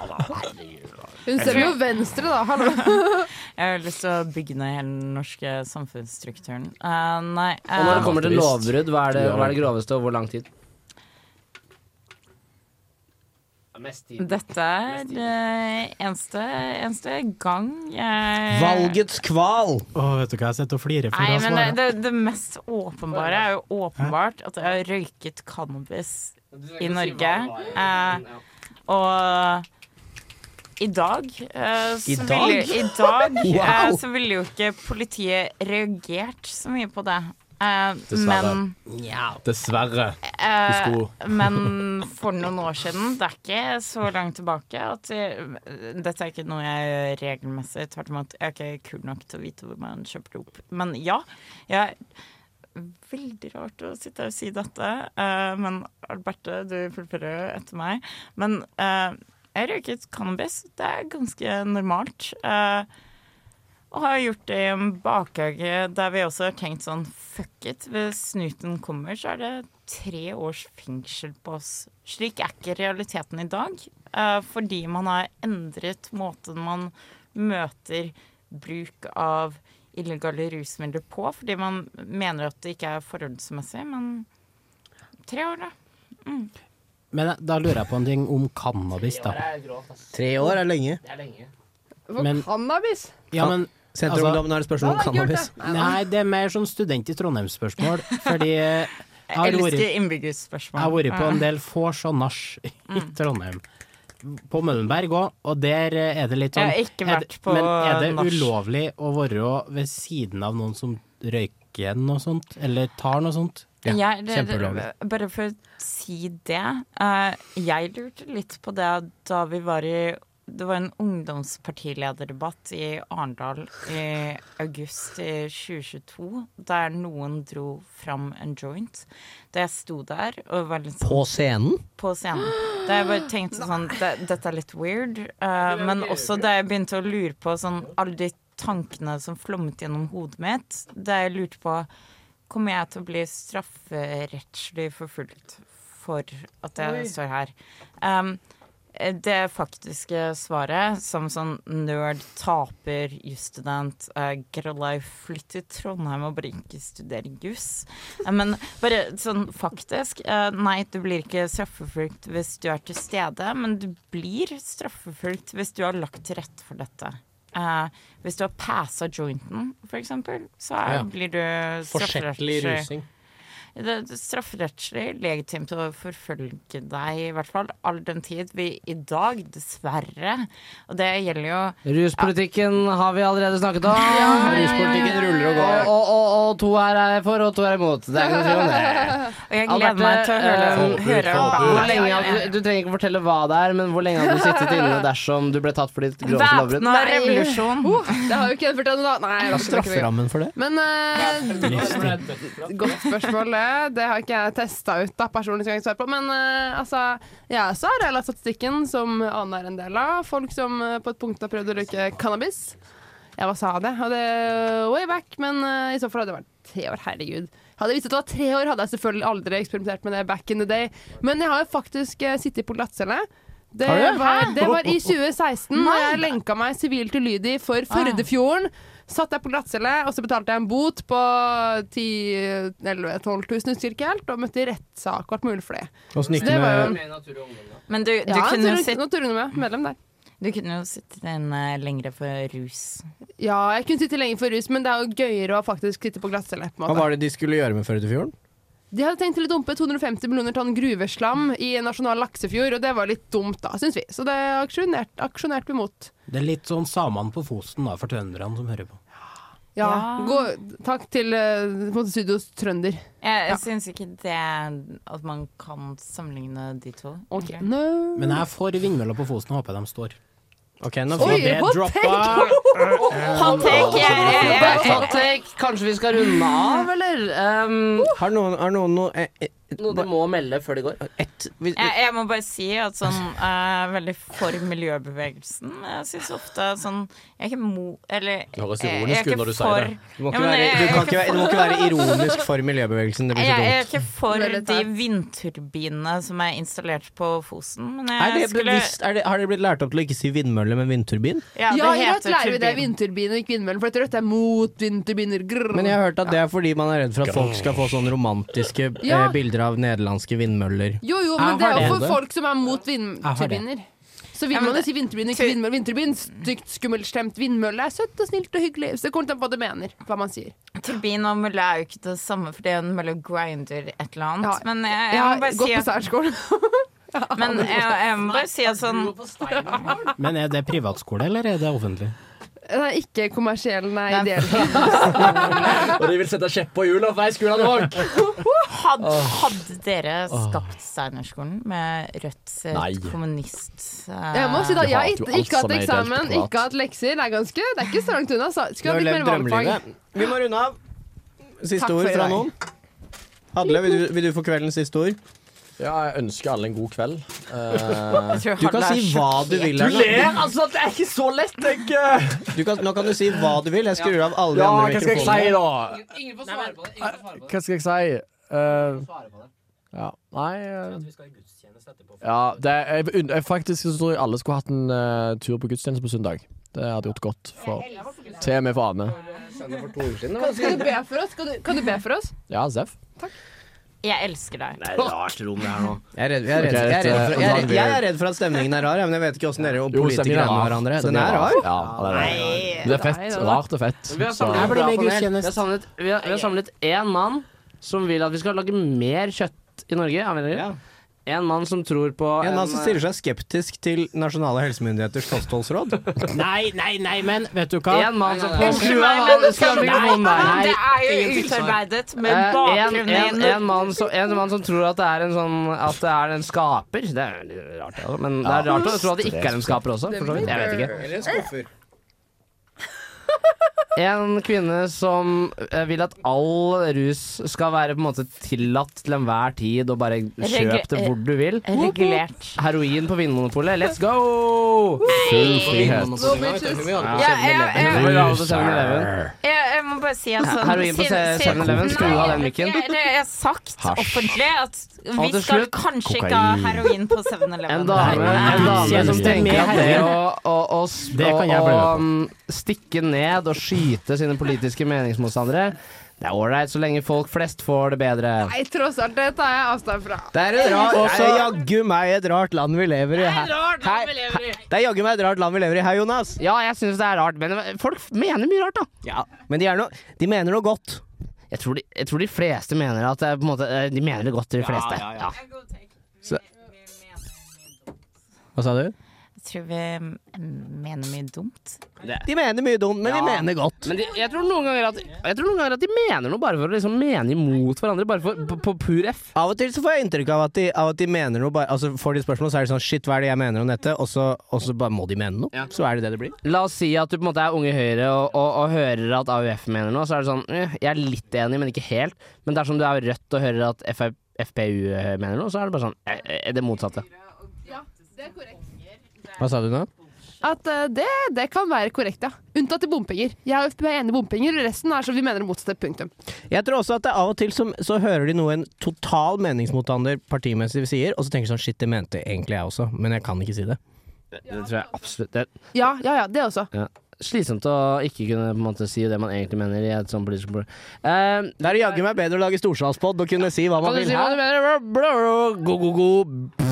Speaker 6: Hun stemmer jo Venstre, da. Hallo.
Speaker 5: Jeg har lyst til å bygge ned hele den norske samfunnsstrukturen. Eh, nei eh,
Speaker 2: Og når det kommer til lovbrudd, hva er det, hva er det groveste, og hvor lang tid?
Speaker 5: Dette er eh, eneste, eneste gang jeg
Speaker 3: Valgets kval!
Speaker 4: Å, vet du hva, jeg sitter og flirer
Speaker 5: Nei,
Speaker 4: for å
Speaker 5: men det,
Speaker 4: svare.
Speaker 5: det, det mest åpenbare er jo åpenbart at jeg har røyket cannabis i Norge. Eh, og i dag eh, så
Speaker 12: I dag?
Speaker 5: ville I dag eh,
Speaker 12: Wow.
Speaker 5: så ville jo ikke politiet reagert så mye på det. Eh,
Speaker 1: Dessverre.
Speaker 5: men
Speaker 1: Dessverre. Du
Speaker 5: Eh,
Speaker 1: skulle
Speaker 5: men for noen år siden, det er ikke så langt tilbake at jeg, Dette er ikke noe jeg gjør regelmessig. Tvert imot, jeg er ikke kul nok til å vite hvor man kjøper dop. Men ja, jeg Veldig rart å sitte her og si dette, eh, men Alberte, du fullfører jo etter meg. Men eh, jeg røyket cannabis. Det er ganske normalt. Eh, og har gjort det i en bakhage der vi også har tenkt sånn Fuck it, hvis snuten kommer, så er det tre års fengsel på oss. Slik er ikke realiteten i dag. eh, fordi man har endret måten man møter bruk av illegale rusmidler på. Fordi man mener at det ikke er forholdsmessig, men tre år, da. Mm.
Speaker 4: Men eh, da lurer jeg på en ting om cannabis, da.
Speaker 3: Tre år er lenge.
Speaker 2: Det er lenge.
Speaker 6: For
Speaker 4: Men-
Speaker 6: cannabis?
Speaker 4: Ja, men
Speaker 3: Senterungdommen er det spørsmål om
Speaker 6: Ja, det er kult,
Speaker 3: cannabis.
Speaker 6: det.
Speaker 4: Nei, det er mer sånn student i Trondheim-spørsmål. Fordi eh, jeg har
Speaker 5: Jeg elsker
Speaker 4: vært- jeg
Speaker 5: innbyggerspørsmål.
Speaker 4: har vært på en del vors og nach i Trondheim. På Møllenberg òg, og der er det litt sånn
Speaker 5: Jeg har ikke
Speaker 4: er det-
Speaker 5: vært på
Speaker 4: Men er det
Speaker 5: nach.
Speaker 4: ulovlig å være ved siden av noen som røyker noe sånt, eller tar noe sånt?
Speaker 5: Jeg- det-
Speaker 4: Kjempeulovlig.
Speaker 5: Bare for å si det. eh, jeg lurte litt på det da vi var i Det var en ungdomspartilederdebatt i Arendal i august i 2022, der noen dro fram en joint. Da jeg sto der og var litt sånn-
Speaker 3: På scenen?
Speaker 5: på scenen. Da jeg bare tenkte sånn "Det- Dette er litt weird. eh, men også da jeg begynte å lure på sånn alle de tankene som flommet gjennom hodet mitt, da jeg lurte på Kommer jeg til å bli strafferettslig forfulgt for at jeg
Speaker 12: Oi.
Speaker 5: står her? Um, det faktiske svaret, som sånn nerd, taper, jusstudent, uh, Grolleif, flytt til Trondheim og bare ikke studere juss. Eh, Men bare sånn faktisk, eh, nei, du blir ikke straffeforfulgt hvis du er til stede, men du blir straffeforfulgt hvis du har lagt til rette for dette. Eh, hvis du har passa jointen, for eksempel, så er,
Speaker 2: Ja.
Speaker 5: blir du
Speaker 2: Forsettlig
Speaker 5: strafferettslig-
Speaker 2: rusing.
Speaker 5: det er strafferettslig legitimt å forfølge deg, i hvert fall all den tid vi i dag, dessverre Og det gjelder jo
Speaker 2: Ruspolitikken har vi allerede snakket om.
Speaker 5: Ruspolitikken
Speaker 2: ruller og går. Og, og, og to her er for, og to er imot. Det er ikke noe å si om det.
Speaker 5: Og jeg gleder meg til å høre,
Speaker 2: eh,
Speaker 5: høre
Speaker 2: hvor lenge, hadde du, du trenger ikke fortelle hva det er, men hvor lenge hadde du sittet inne dersom du ble tatt for ditt groveste lovbrudd?
Speaker 5: Væpna revolusjon.
Speaker 6: Oh, det har jo ikke jeg fortalt da. Nei, det var ikke-
Speaker 3: Strafferammen for det?
Speaker 6: Men eh, godt spørsmål, det. Det har ikke jeg testa ut, da, personlig skal jeg ikke svare på. Men eh, altså, jeg også har del av statistikken som Ane er en del av. Folk som eh, på et punkt har prøvd å røyke cannabis. Jeg var sa det, og det er way back, men eh, i så fall hadde det vært tre år. Herregud. Hadde jeg visst at det var tre år, hadde jeg selvfølgelig aldri eksperimentert med det back in the day. Men jeg har jo faktisk eh, sittet på glattcelle. Det
Speaker 12: Har du?
Speaker 6: var,
Speaker 12: Hæ?
Speaker 6: det var i 2016, da
Speaker 12: Nei.
Speaker 6: jeg lenka meg sivilt ulydig for Førdefjorden. Satt jeg på glattcelle, og så betalte jeg en bot på 10 11 12 000, husker ikke helt, og møtte i rettssak og alt mulig for det.
Speaker 3: Åssen gikk
Speaker 6: Så
Speaker 3: det
Speaker 6: var jo-
Speaker 3: med
Speaker 5: Men du, du
Speaker 6: Ja,
Speaker 5: kunne jo
Speaker 6: natur-
Speaker 5: sitte
Speaker 6: naturungdommen, medlem der.
Speaker 5: Du kunne jo sittet inne lengre for rus.
Speaker 6: Ja, jeg kunne sitte lenge for rus, men det er jo gøyere å faktisk sitte på glattcelle. på en
Speaker 3: Hva
Speaker 6: måte.
Speaker 3: var det de skulle gjøre med Førdefjorden?
Speaker 6: De hadde tenkt til å dumpe 250 millioner tonn gruveslam i en nasjonal laksefjord, og det var litt dumt da, syns vi. Så det aksjonerte aksjonert vi mot.
Speaker 4: Det er litt sånn samene på Fosen, da, for trønderne som hører på.
Speaker 6: Ja. Gå, takk til eh, på en måte Studios trønder.
Speaker 5: Jeg
Speaker 6: Ja.
Speaker 5: syns ikke det at man kan sammenligne de to.
Speaker 6: Ok,
Speaker 5: egentlig.
Speaker 6: no.
Speaker 4: Men jeg er for vindmøller på Fosen og håper de står.
Speaker 3: Ok,
Speaker 4: nå
Speaker 6: Oi, hot
Speaker 5: Eh,
Speaker 2: Hot take,
Speaker 4: jeg- jeg- jeg-
Speaker 2: Hot take. Kanskje vi skal runde av, eller? Um,
Speaker 3: Har noen, har noen noe eh, eh,
Speaker 2: noe de må melde før de går?
Speaker 3: hvis-
Speaker 5: Jeg, jeg må bare si at sånn eh, Veldig for miljøbevegelsen. Jeg syns ofte sånn Jeg er ikke mo... Eller
Speaker 3: Det høres
Speaker 5: jeg- jeg er
Speaker 3: ironisk ut
Speaker 5: ikke
Speaker 3: når du sier
Speaker 5: for-
Speaker 3: det. Du må ikke
Speaker 5: Ja, men
Speaker 3: være-
Speaker 5: jeg-
Speaker 3: du
Speaker 5: jeg
Speaker 3: kan
Speaker 5: er
Speaker 3: ikke være-
Speaker 5: for-
Speaker 3: du må ikke være ironisk for miljøbevegelsen, det blir så
Speaker 5: Jeg jeg er
Speaker 3: dumt.
Speaker 5: ikke for
Speaker 6: Det
Speaker 5: de vindturbinene som er installert på Fosen, men jeg
Speaker 3: Er det
Speaker 5: skulle
Speaker 3: bevisst, er det, har dere blitt lært opp til å ikke si vindmølle, men vindturbin?
Speaker 5: Ja,
Speaker 6: Ja,
Speaker 5: det
Speaker 6: i Rødt
Speaker 5: heter
Speaker 6: lærer vi det.
Speaker 5: turbin.
Speaker 6: Vindturbiner, ikke vindmøller. For etter Rødt er mot vindturbiner. Grrr.
Speaker 3: Men jeg har hørt at det er fordi man er redd for at folk skal få sånne romantiske eh,
Speaker 6: Ja,
Speaker 3: bilder bilder av nederlandske vindmøller.
Speaker 6: Jo, jo, men det er jo for folk som er mot vindturbiner. Så vil
Speaker 3: Ja, men
Speaker 6: man jo
Speaker 3: det-
Speaker 6: si vindturbin, ikke vindmølle. Vindturbin, stygt, skummelt, slemt. Vindmølle er søtt og snilt og hyggelig. Så det kommer an på hva du mener, hva man sier.
Speaker 5: Turbin og mølle er jo ikke det samme, for det er en mølle grinder et eller annet. Men jeg, jeg,
Speaker 6: Jeg har
Speaker 5: må bare
Speaker 6: gått
Speaker 5: si
Speaker 6: på
Speaker 5: særskolen. Men jeg, jeg må bare si at sånn
Speaker 6: Ah,
Speaker 4: Men er det privatskole, eller er det offentlig?
Speaker 6: Den er ikke kommersiell, nei, ideell.
Speaker 1: Og de vil sette kjepp på hjula for skolen
Speaker 5: Hadde, hadde dere skapt Steinerskolen med Rødt eh,
Speaker 1: Nei.
Speaker 5: kommunist eh,
Speaker 6: Jeg må si da,
Speaker 1: Du
Speaker 6: jeg har
Speaker 1: hater jo alt
Speaker 6: ikke, ikke
Speaker 1: som
Speaker 6: hatt
Speaker 1: er ideelt
Speaker 6: eksamen,
Speaker 1: privat.
Speaker 6: ikke hatt lekser. Det er ganske, det er ikke så langt unna. Så skulle hatt litt mer valgfag.
Speaker 3: Vi må runde av. Siste
Speaker 6: Takk for
Speaker 3: ord
Speaker 6: i
Speaker 3: fra
Speaker 6: dag.
Speaker 3: noen. Hadle, vil du, vil du få kveldens siste ord?
Speaker 1: Ja, jeg ønsker alle en god kveld.
Speaker 3: Jeg tror Du kan Hadle er si hva du sjokkert. vil, Erna.
Speaker 1: Du ler, altså! Det er ikke så lett, jeg. eh.
Speaker 3: Du kan, nå kan du si hva du vil. Jeg skrur av alle de
Speaker 1: Ja,
Speaker 3: andre
Speaker 1: hva skal jeg si, da?
Speaker 7: Ingen får svare på det. Ingen får svare på det.
Speaker 1: Hva skal jeg si? Eh, ja, nei eh, ja, det, jeg, unn- jeg, Faktisk så tror jeg alle skulle hatt en eh, tur på gudstjeneste på søndag. Det hadde gjort godt for Til og med for Ane.
Speaker 6: Kan, skal du be for oss? Kan du, kan du be for oss?
Speaker 1: Ja, Seff.
Speaker 5: Jeg elsker deg.
Speaker 1: Rart rom, det her nå.
Speaker 3: Jeg er redd, jeg er redd, jeg er
Speaker 1: eh,
Speaker 3: redd, for, jeg er redd, jeg er redd for at stemningen er rar, ja, men jeg vet ikke åssen dere og
Speaker 1: Jo, stemningen er
Speaker 3: politikere er med
Speaker 1: rar.
Speaker 3: hverandre. Den
Speaker 1: Stemningen er
Speaker 3: er
Speaker 1: rar.
Speaker 3: rar.
Speaker 1: Ja, den er rar. Men det er fett.
Speaker 2: Nei, det er det.
Speaker 1: Rart og fett.
Speaker 2: Vi har
Speaker 1: Så-
Speaker 2: samlet, vi har samlet, vi har, vi har samlet én mann som vil at vi skal lage mer kjøtt i Norge. av en eller annen grunn. En mann som tror på
Speaker 3: En mann som stiller seg skeptisk til nasjonale helsemyndigheters kostholdsråd.
Speaker 4: Nei, nei, nei, men vet du hva?
Speaker 2: En mann som får
Speaker 4: Unnskyld
Speaker 2: skru av
Speaker 4: meg,
Speaker 2: alle
Speaker 4: men-
Speaker 2: mikrofonen der.
Speaker 4: Nei,
Speaker 5: Det er jo
Speaker 4: ingenting svar.
Speaker 5: utarbeidet
Speaker 2: Eh,
Speaker 5: med
Speaker 2: en,
Speaker 5: bakgrunn i
Speaker 2: en, en, mann som, en mann som tror at det er en sånn At det er en skaper. Det er litt rart, det også, men det er
Speaker 3: Ja.
Speaker 2: rart å tro at det ikke er en skaper også. For så vidt. Jeg vet ikke.
Speaker 3: Eller en skuffer.
Speaker 2: En kvinne som eh, vil at all rus skal være på en måte tillatt til enhver tid, og bare
Speaker 5: Regu-
Speaker 2: kjøp det hvor du vil.
Speaker 5: Regulert.
Speaker 2: Heroin på Vinmonopolet, let's go! Full frihet.
Speaker 5: Ja, jeg- jeg-
Speaker 2: Heroin
Speaker 5: Jeg, jeg må bare si at sånn,
Speaker 2: på
Speaker 5: siden- siden-
Speaker 2: 7-Eleven, skru
Speaker 5: Nei,
Speaker 2: av den mikken.
Speaker 5: jeg- Det er sagt
Speaker 2: Hasj.
Speaker 5: offentlig at vi
Speaker 2: Og til
Speaker 5: skal
Speaker 2: slutt,
Speaker 5: kanskje ikke ha
Speaker 2: kokain.
Speaker 5: heroin på 7-Eleven.
Speaker 2: En dame,
Speaker 5: Nei,
Speaker 2: en dame som
Speaker 4: Tjeneste
Speaker 2: tenker
Speaker 4: med
Speaker 2: at det
Speaker 4: heroin.
Speaker 2: å, å, å, s-
Speaker 4: Det kan jeg
Speaker 2: å,
Speaker 4: bli med
Speaker 2: å mm, stikke ned og skyte sine politiske meningsmotstandere, det er ålreit så lenge folk flest får det bedre.
Speaker 6: Nei, tross alt, det tar jeg avstand fra.
Speaker 3: Det er et rart, det er jaggu meg et rart land vi lever i. her. Hei, hei, Det er jaggu meg et rart land vi lever i. Hei, Jonas.
Speaker 2: Ja, jeg syns det er rart, men folk mener mye rart, da.
Speaker 3: Ja, Men de, er noe- de mener noe godt.
Speaker 2: Jeg tror de, jeg tror de fleste mener at det er på en måte eh, De mener det godt, de fleste. Ja.
Speaker 3: ja, Hva sa du?
Speaker 5: Jeg tror vi mm, mener mye dumt.
Speaker 3: De mener mye dumt, men de
Speaker 2: Ja.
Speaker 3: mener godt.
Speaker 2: Men de, jeg, tror noen ganger at, jeg tror noen ganger at de mener noe bare for å liksom mene imot hverandre, bare for, på, på pur F.
Speaker 3: Av og til så får jeg inntrykk av at de, av at de mener noe bare, altså Får de spørsmål, så er det sånn Shit, hva er det jeg mener om dette? Og så, og så bare må de mene noe. Så er det det det blir.
Speaker 2: La oss si at du på en måte er Unge Høyre og, og, og hører at AUF mener noe, så er det sånn eh, Jeg er litt enig, men ikke helt. Men dersom du er Rødt og hører at FR, FPU mener noe, så er det bare sånn eh, eh, Det motsatte.
Speaker 3: Hva sa du nå?
Speaker 6: At eh, det, det kan være korrekt, ja. Unntatt i bompenger. Jeg og FB er enig i bompenger, og resten er så vi mener det motsatte. Punktum.
Speaker 3: Jeg tror også at det av og til som, så hører de noe en total meningsmotstander partimessig sier, og så tenker de sånn Shit, det mente egentlig jeg også, men jeg kan ikke si det.
Speaker 2: Det, det tror jeg absolutt det,
Speaker 6: Ja, ja, ja, det også.
Speaker 2: ja. Slitsomt å ikke kunne på en måte si det man egentlig mener i et sånt politisk program. Eh,
Speaker 3: Det er jaggu meg bedre å lage storsalspod og kunne si hva man
Speaker 2: kan du
Speaker 3: vil
Speaker 2: si hva du
Speaker 3: her.
Speaker 2: mener? Bla, bla, bla, Go, go, go.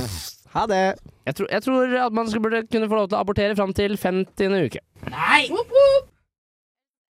Speaker 3: Ha det.
Speaker 2: Jeg tror, jeg tror at man skal burde kunne få lov til å abortere fram til 50. uke.
Speaker 6: Woop, woop.